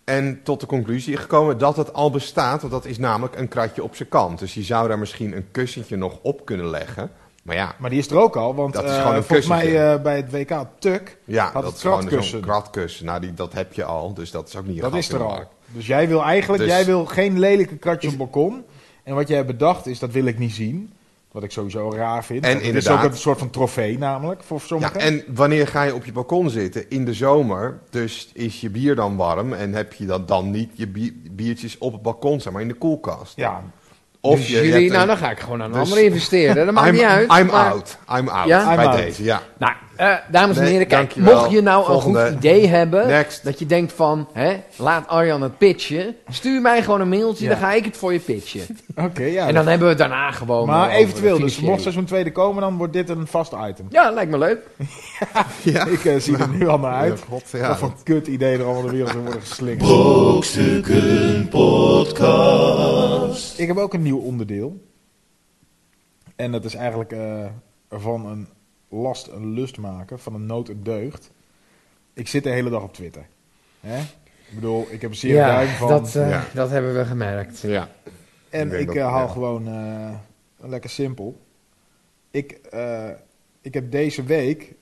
[SPEAKER 2] En tot de conclusie gekomen dat het al bestaat. Want dat is namelijk een kratje op zijn kant. Dus je zou daar misschien een kussentje nog op kunnen leggen. Maar ja,
[SPEAKER 3] Maar die is er ook al, want
[SPEAKER 2] Dat is
[SPEAKER 3] eh,
[SPEAKER 2] gewoon een
[SPEAKER 3] volgens mij
[SPEAKER 2] kussentje.
[SPEAKER 3] eh, bij het WK Tuk
[SPEAKER 2] ja
[SPEAKER 3] had
[SPEAKER 2] dat
[SPEAKER 3] het
[SPEAKER 2] is gewoon
[SPEAKER 3] kratkussen.
[SPEAKER 2] zo'n kratkussen. Nou, die, dat heb je al. Dus dat is ook niet
[SPEAKER 3] Dat
[SPEAKER 2] een
[SPEAKER 3] is er al.
[SPEAKER 2] grapje.
[SPEAKER 3] Dus jij wil eigenlijk,
[SPEAKER 2] Dus-
[SPEAKER 3] jij wil geen lelijke kratje op het balkon. En wat jij hebt bedacht is, dat wil ik niet zien. Wat ik sowieso raar vind.
[SPEAKER 2] En
[SPEAKER 3] Want het is ook
[SPEAKER 2] inderdaad.
[SPEAKER 3] een soort van trofee namelijk, voor
[SPEAKER 2] Ja,
[SPEAKER 3] sommigen.
[SPEAKER 2] en wanneer ga je op je balkon zitten? In de zomer. Dus is je bier dan warm en heb je dan, dan niet je bi- biertjes op het balkon, zeg maar in de koelkast.
[SPEAKER 3] Ja,
[SPEAKER 2] Of
[SPEAKER 5] dus
[SPEAKER 2] je
[SPEAKER 5] jullie,
[SPEAKER 2] hebt
[SPEAKER 5] nou,
[SPEAKER 2] een-
[SPEAKER 5] dan ga ik gewoon aan een
[SPEAKER 2] dus-
[SPEAKER 5] ander investeren. Dat maakt
[SPEAKER 2] I'm,
[SPEAKER 5] niet uit.
[SPEAKER 2] I'm
[SPEAKER 5] maar-
[SPEAKER 2] out. I'm out.
[SPEAKER 5] Ja?
[SPEAKER 2] bij
[SPEAKER 3] I'm out.
[SPEAKER 2] deze, ja.
[SPEAKER 5] Nou, eh, dames en
[SPEAKER 2] Nee,
[SPEAKER 5] heren, kijk,
[SPEAKER 2] dankjewel.
[SPEAKER 5] mocht je nou een
[SPEAKER 2] Volgende.
[SPEAKER 5] goed idee hebben,
[SPEAKER 2] Next.
[SPEAKER 5] dat je denkt van, hè, laat Arjan het pitchen, stuur mij gewoon een mailtje,
[SPEAKER 3] Ja.
[SPEAKER 5] dan ga ik het voor je pitchen.
[SPEAKER 3] oké. ja.
[SPEAKER 5] En dan hebben we het daarna gewoon.
[SPEAKER 3] maar
[SPEAKER 5] eh, over
[SPEAKER 3] eventueel,
[SPEAKER 5] de
[SPEAKER 3] dus
[SPEAKER 5] financiële.
[SPEAKER 3] mocht er zo'n tweede komen, dan wordt dit een vast item.
[SPEAKER 5] Ja, lijkt me leuk.
[SPEAKER 2] ja. Nou,
[SPEAKER 3] Ik eh, zie er nu al naar uit.
[SPEAKER 2] Ja, God, ja.
[SPEAKER 3] Wat voor kut idee er allemaal de wereld in worden geslingerd.
[SPEAKER 1] Brokstukken Podcast.
[SPEAKER 3] Ik heb ook een nieuw onderdeel. En dat is eigenlijk eh, van een last een lust maken, van een nood een deugd. Ik zit de hele dag op Twitter. Hè? Ik bedoel, ik heb een zeer duim van.
[SPEAKER 5] dat, eh,
[SPEAKER 2] Ja.
[SPEAKER 5] dat hebben we gemerkt.
[SPEAKER 2] ja. Ik
[SPEAKER 3] en
[SPEAKER 2] denk
[SPEAKER 3] ik
[SPEAKER 2] dat-
[SPEAKER 3] eh, hou
[SPEAKER 2] ja.
[SPEAKER 3] gewoon eh, lekker simpel. Ik, eh, ik heb deze week,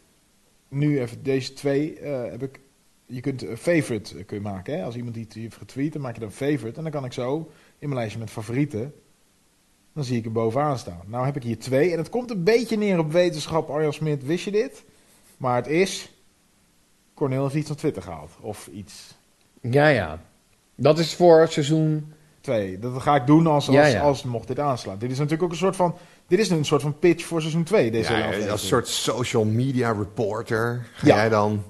[SPEAKER 3] nu even deze twee, eh, heb ik, je kunt een favorite eh, kun je maken. Hè? Als iemand iets heeft getweet, dan maak je dan favorite. En dan kan ik zo in mijn lijstje met favorieten. Dan zie ik er bovenaan staan. Nou heb ik hier twee. En het komt een beetje neer op wetenschap. Arjan Smit, wist je dit? Maar het is... Cornel heeft iets van Twitter gehaald. Of iets.
[SPEAKER 5] Ja, ja. Dat is voor seizoen.
[SPEAKER 3] Twee. Dat ga ik doen als, als,
[SPEAKER 5] Ja, ja.
[SPEAKER 3] als mocht dit aanslaan. Dit is natuurlijk ook een soort van... Dit is een soort van pitch voor seizoen 2. Deze
[SPEAKER 2] Ja,
[SPEAKER 3] hele
[SPEAKER 2] ja,
[SPEAKER 3] aflevering.
[SPEAKER 2] als soort social media reporter ga
[SPEAKER 3] Ja.
[SPEAKER 2] jij dan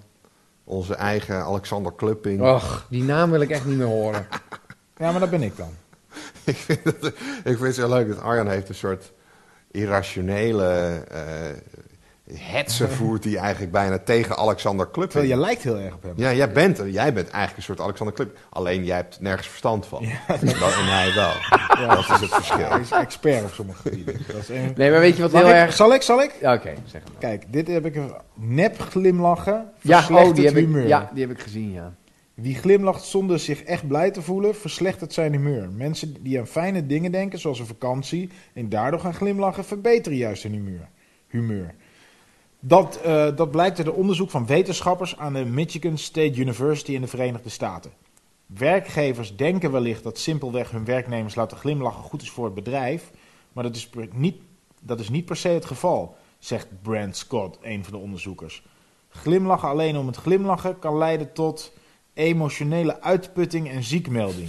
[SPEAKER 2] onze eigen Alexander Klupping.
[SPEAKER 3] Oh.
[SPEAKER 5] Och, die naam wil ik echt niet meer horen.
[SPEAKER 3] Ja, maar dat ben ik dan.
[SPEAKER 2] ik, vind dat, ik vind het zo leuk dat Arjan heeft een soort irrationele eh hetze voert die eigenlijk bijna tegen Alexander Klupping.
[SPEAKER 3] Terwijl je lijkt heel erg op hem.
[SPEAKER 2] Ja, jij bent, er. jij bent eigenlijk een soort Alexander Klupping. Alleen jij hebt nergens verstand van. En dat- en hij wel. Dat is het verschil.
[SPEAKER 3] Hij is expert op sommige gebieden. Dat is een...
[SPEAKER 5] Nee, maar weet je wat
[SPEAKER 3] Mag
[SPEAKER 5] heel
[SPEAKER 3] ik-
[SPEAKER 5] erg.
[SPEAKER 3] Zal ik, zal ik?
[SPEAKER 5] Ja, Oké, zeg maar.
[SPEAKER 3] Kijk, dit heb ik een nep glimlachen.
[SPEAKER 5] Ja, oh,
[SPEAKER 3] verslechterd
[SPEAKER 5] die heb,
[SPEAKER 3] humeur.
[SPEAKER 5] ik, ja, die heb ik gezien, ja.
[SPEAKER 3] Wie glimlacht zonder zich echt blij te voelen, verslechtert zijn humeur. Mensen die aan fijne dingen denken, zoals een vakantie, en daardoor gaan glimlachen, verbeteren juist hun humeur. humeur. Dat, eh, dat blijkt uit een onderzoek van wetenschappers aan de Michigan State University in de Verenigde Staten. Werkgevers denken wellicht dat simpelweg hun werknemers laten glimlachen goed is voor het bedrijf, maar dat is, per- niet, dat is niet per se het geval, zegt Brand Scott, een van de onderzoekers. Glimlachen alleen om het glimlachen kan leiden tot emotionele uitputting en ziekmelding.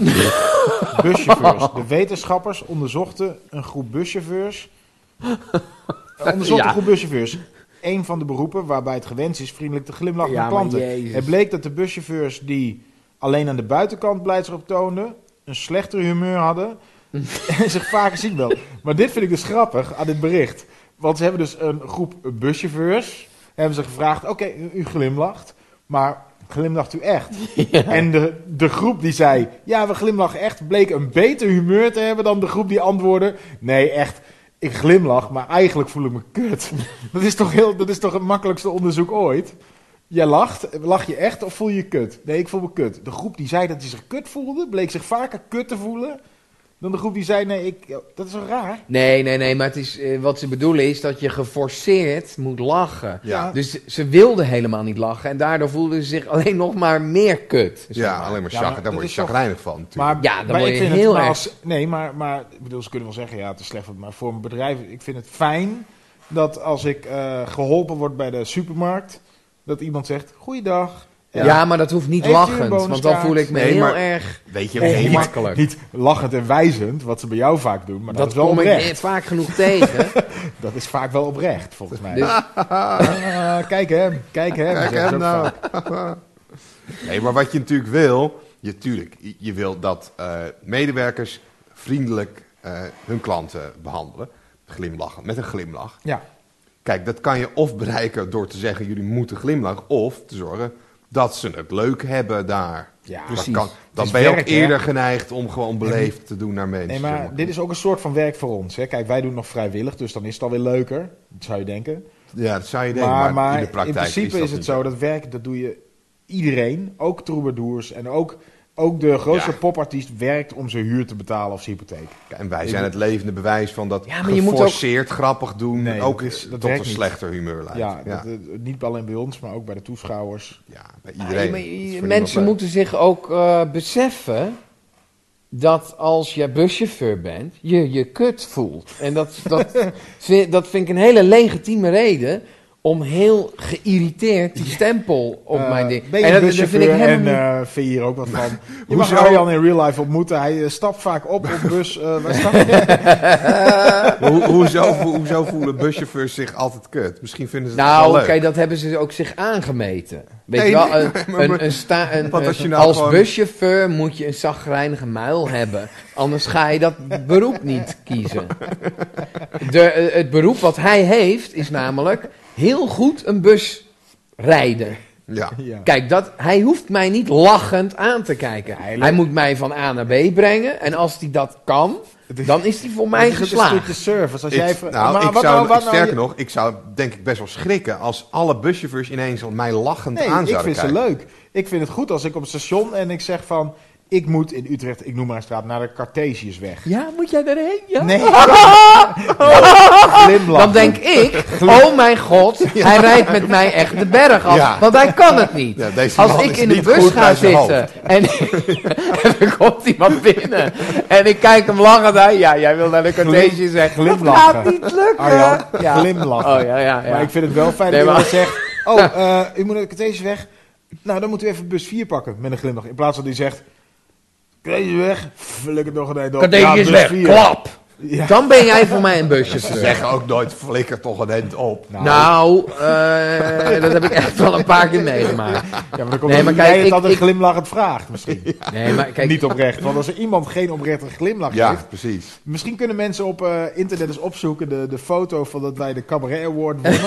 [SPEAKER 3] buschauffeurs. De wetenschappers onderzochten een groep buschauffeurs. Onderzochten
[SPEAKER 5] Ja.
[SPEAKER 3] een groep buschauffeurs. Een van de beroepen waarbij het gewenst is vriendelijk te glimlachen
[SPEAKER 5] Ja,
[SPEAKER 3] naar
[SPEAKER 5] maar
[SPEAKER 3] klanten.
[SPEAKER 5] jezus.
[SPEAKER 3] Het bleek dat de buschauffeurs die alleen aan de buitenkant blijdschap toonden, een slechter humeur hadden en zich vaker ziek melden. Maar dit vind ik dus grappig aan dit bericht. Want ze hebben dus een groep buschauffeurs. Hebben ze gevraagd: Oké, u- u glimlacht, maar glimlacht u echt? En de, de groep die zei: Ja, we glimlachen echt, bleek een beter humeur te hebben dan de groep die antwoordde: Nee, echt. Ik glimlach, maar eigenlijk voel ik me kut. Dat is toch, heel, dat is toch het makkelijkste onderzoek ooit? Jij lacht. Lach je echt of voel je je kut? Nee, ik voel me kut. De groep die zei dat hij zich kut voelde, bleek zich vaker kut te voelen. Dan de groep die zei, nee, ik, dat is wel raar.
[SPEAKER 5] Nee, nee, nee, maar het is, eh, wat ze bedoelen is dat je geforceerd moet lachen.
[SPEAKER 2] Ja.
[SPEAKER 5] Dus ze wilden helemaal niet lachen en daardoor voelden ze zich alleen nog maar meer kut. zeg
[SPEAKER 2] Ja,
[SPEAKER 5] maar.
[SPEAKER 2] alleen maar,
[SPEAKER 3] Ja, maar
[SPEAKER 2] chagr- daar
[SPEAKER 3] dat
[SPEAKER 2] word je
[SPEAKER 3] is toch-
[SPEAKER 2] chagrijnig van. natuurlijk.
[SPEAKER 3] Maar,
[SPEAKER 5] Ja, dan
[SPEAKER 3] maar
[SPEAKER 5] word
[SPEAKER 3] ik
[SPEAKER 5] je
[SPEAKER 3] vind
[SPEAKER 5] heel
[SPEAKER 3] het, maar
[SPEAKER 5] erg-
[SPEAKER 3] als- nee, maar, maar ik bedoel, ze kunnen wel zeggen, ja, het is slecht. Maar voor een bedrijf, ik vind het fijn dat als ik eh, geholpen word bij de supermarkt, dat iemand zegt, goeiedag.
[SPEAKER 5] Ja. maar dat hoeft niet
[SPEAKER 3] Heeft u een
[SPEAKER 5] lachend, want dan
[SPEAKER 3] bonuskaart?
[SPEAKER 5] voel ik me
[SPEAKER 2] Nee,
[SPEAKER 5] heel
[SPEAKER 2] maar-
[SPEAKER 5] erg
[SPEAKER 2] Weet je,
[SPEAKER 5] ongemakkelijk.
[SPEAKER 2] nee, maar-
[SPEAKER 3] Niet lachend en wijzend, wat ze bij jou vaak doen, maar dat,
[SPEAKER 5] dat
[SPEAKER 3] is wel
[SPEAKER 5] kom ik
[SPEAKER 3] oprecht.
[SPEAKER 5] eh, vaak genoeg tegen.
[SPEAKER 3] Dat is vaak wel oprecht, volgens mij.
[SPEAKER 5] Dus-
[SPEAKER 3] Ah, kijk hem, kijk hem.
[SPEAKER 2] Kijk
[SPEAKER 3] zeggen ze
[SPEAKER 2] hem nou.
[SPEAKER 3] ook vaak.
[SPEAKER 2] Nee, maar wat je natuurlijk wil, je, tuurlijk, je, je wil dat eh, medewerkers vriendelijk eh, hun klanten behandelen. Glimlachen, met een glimlach.
[SPEAKER 3] Ja,
[SPEAKER 2] Kijk, dat kan je of bereiken door te zeggen jullie moeten glimlachen, of te zorgen dat ze het leuk hebben daar.
[SPEAKER 3] Ja,
[SPEAKER 2] Dat
[SPEAKER 3] precies.
[SPEAKER 2] Kan,
[SPEAKER 3] Het
[SPEAKER 2] dan
[SPEAKER 3] is
[SPEAKER 2] ben je ook
[SPEAKER 3] werk, hè?
[SPEAKER 2] eerder geneigd om gewoon beleefd te doen naar mensen.
[SPEAKER 3] nee,
[SPEAKER 2] jongen.
[SPEAKER 3] maar dit is ook een soort van werk voor ons. Hè. Kijk, wij doen het nog vrijwillig, dus dan is het alweer leuker. Dat zou je denken.
[SPEAKER 2] Ja, dat zou je denken, maar,
[SPEAKER 3] maar, maar
[SPEAKER 2] in de praktijk
[SPEAKER 3] principe is,
[SPEAKER 2] dat
[SPEAKER 3] het
[SPEAKER 2] niet.
[SPEAKER 3] zo dat werk, dat doe je iedereen, ook troubadours en ook, ook de grootste
[SPEAKER 2] Ja.
[SPEAKER 3] popartiest werkt om zijn huur te betalen of zijn hypotheek.
[SPEAKER 2] En wij zijn het levende bewijs van dat
[SPEAKER 5] Ja, maar je moet ook-
[SPEAKER 2] geforceerd grappig doen
[SPEAKER 3] Nee,
[SPEAKER 2] ook
[SPEAKER 3] dat is- dat
[SPEAKER 2] tot
[SPEAKER 3] werkt
[SPEAKER 2] een
[SPEAKER 3] niet.
[SPEAKER 2] slechter humeur leidt.
[SPEAKER 3] Ja,
[SPEAKER 2] Ja, ja.
[SPEAKER 3] Dat, eh, niet alleen bij ons, maar ook bij de toeschouwers.
[SPEAKER 2] bij
[SPEAKER 5] Nee,
[SPEAKER 2] iedereen.
[SPEAKER 5] maar
[SPEAKER 2] Dat is voor
[SPEAKER 5] mensen
[SPEAKER 2] niemand
[SPEAKER 5] moeten zich ook eh, beseffen dat als je buschauffeur bent, je je kut voelt. En dat, dat, vind, dat vind ik een hele legitieme reden om heel geïrriteerd die stempel op
[SPEAKER 3] Eh,
[SPEAKER 5] mijn ding...
[SPEAKER 3] Ben je
[SPEAKER 5] en
[SPEAKER 3] en
[SPEAKER 5] dat,
[SPEAKER 3] dat,
[SPEAKER 5] dat vind ik
[SPEAKER 3] en
[SPEAKER 5] helemaal niet-
[SPEAKER 3] eh, vind je hier ook wat van. Je mag
[SPEAKER 2] Hoezo?
[SPEAKER 3] Arjan in real life ontmoeten. Hij eh, stapt vaak op op bus. eh, waar stap je?
[SPEAKER 2] leuk. Maar Hoe, hoezo, vo- hoezo voelen buschauffeurs zich altijd kut? Misschien vinden ze het
[SPEAKER 5] Nou,
[SPEAKER 2] wel
[SPEAKER 5] oké,
[SPEAKER 2] leuk.
[SPEAKER 5] dat hebben ze ook zich aangemeten. Weet
[SPEAKER 2] Nee,
[SPEAKER 5] je wel,
[SPEAKER 2] nee,
[SPEAKER 5] een,
[SPEAKER 2] maar- maar-
[SPEAKER 5] een, een sta, een,
[SPEAKER 2] Want als
[SPEAKER 5] als,
[SPEAKER 2] je nou gewoon-
[SPEAKER 5] buschauffeur moet je een zagrijnige muil hebben. Anders ga je dat beroep niet kiezen. De, eh, het beroep wat hij heeft is namelijk heel goed een bus rijden.
[SPEAKER 2] Ja.
[SPEAKER 3] ja.
[SPEAKER 5] Kijk, dat, hij hoeft mij niet lachend aan te kijken.
[SPEAKER 3] Hij-
[SPEAKER 5] Hij moet mij van A naar B brengen. En als hij dat kan,
[SPEAKER 3] Het is-
[SPEAKER 5] dan is hij voor
[SPEAKER 3] Het
[SPEAKER 5] mij
[SPEAKER 3] is Een
[SPEAKER 5] geslaagd.
[SPEAKER 3] stukje service. Als
[SPEAKER 2] Ik-
[SPEAKER 3] jij,
[SPEAKER 2] nou,
[SPEAKER 3] van- maar
[SPEAKER 2] ik
[SPEAKER 3] wat
[SPEAKER 2] zou,
[SPEAKER 3] nou, wat nou,
[SPEAKER 2] sterker
[SPEAKER 3] je-
[SPEAKER 2] nog, ik zou denk ik best wel schrikken als alle buschauffeurs ineens mij lachend
[SPEAKER 3] Nee,
[SPEAKER 2] aan
[SPEAKER 3] ik
[SPEAKER 2] zouden
[SPEAKER 3] vind ze
[SPEAKER 2] kijken.
[SPEAKER 3] leuk. Ik vind het goed als ik op het station en ik zeg van... Ik moet in Utrecht, ik noem maar een straat, naar de Cartesiusweg.
[SPEAKER 5] Ja, moet jij daarheen? Ja.
[SPEAKER 3] Nee. Glimlach.
[SPEAKER 5] Dan denk ik, oh mijn god, hij rijdt met mij echt de berg af.
[SPEAKER 2] Ja.
[SPEAKER 5] Want hij kan het niet.
[SPEAKER 2] Ja, deze
[SPEAKER 5] Als
[SPEAKER 2] man
[SPEAKER 5] ik
[SPEAKER 2] is
[SPEAKER 5] in de
[SPEAKER 2] niet
[SPEAKER 5] bus
[SPEAKER 2] goed
[SPEAKER 5] ga
[SPEAKER 2] bij zijn
[SPEAKER 5] zitten en, en er komt iemand binnen en ik kijk hem lachend aan. Ja, jij wil naar de Cartesius zeggen. Dat
[SPEAKER 3] glimlachen.
[SPEAKER 5] gaat niet lukken.
[SPEAKER 3] Arjan,
[SPEAKER 5] Ja.
[SPEAKER 3] glimlachen.
[SPEAKER 5] Oh ja, ja, ja.
[SPEAKER 3] Maar ik vind het wel fijn
[SPEAKER 5] Nee,
[SPEAKER 3] dat
[SPEAKER 5] maar-
[SPEAKER 3] iemand zegt... Oh, eh, u moet naar de Cartesiusweg. Nou, dan moet u even bus 4 pakken met een glimlach. In plaats van die zegt... Cartesiusweg, flik het nog een eind op. Ja, bus
[SPEAKER 5] Cartesiusweg,
[SPEAKER 3] 4.
[SPEAKER 5] klap.
[SPEAKER 3] Ja.
[SPEAKER 5] Dan ben jij voor mij een busje.
[SPEAKER 2] Ze zeggen ook nooit, flikker toch een end op.
[SPEAKER 5] Nou, eh, dat heb ik echt wel een paar keer meegemaakt.
[SPEAKER 3] Ja, maar dan komt
[SPEAKER 5] Nee,
[SPEAKER 3] nee,
[SPEAKER 5] maar
[SPEAKER 3] maar
[SPEAKER 5] kijk,
[SPEAKER 3] jij het
[SPEAKER 5] ik-
[SPEAKER 3] dan een
[SPEAKER 5] ik-
[SPEAKER 3] glimlachend vraagt misschien.
[SPEAKER 5] Nee, maar kijk,
[SPEAKER 3] Niet oprecht. Want als er iemand geen oprechte glimlach
[SPEAKER 2] ja,
[SPEAKER 3] heeft...
[SPEAKER 2] precies.
[SPEAKER 3] Misschien kunnen mensen op eh, internet eens opzoeken de, de foto van dat wij de Cabaret Award wonnen.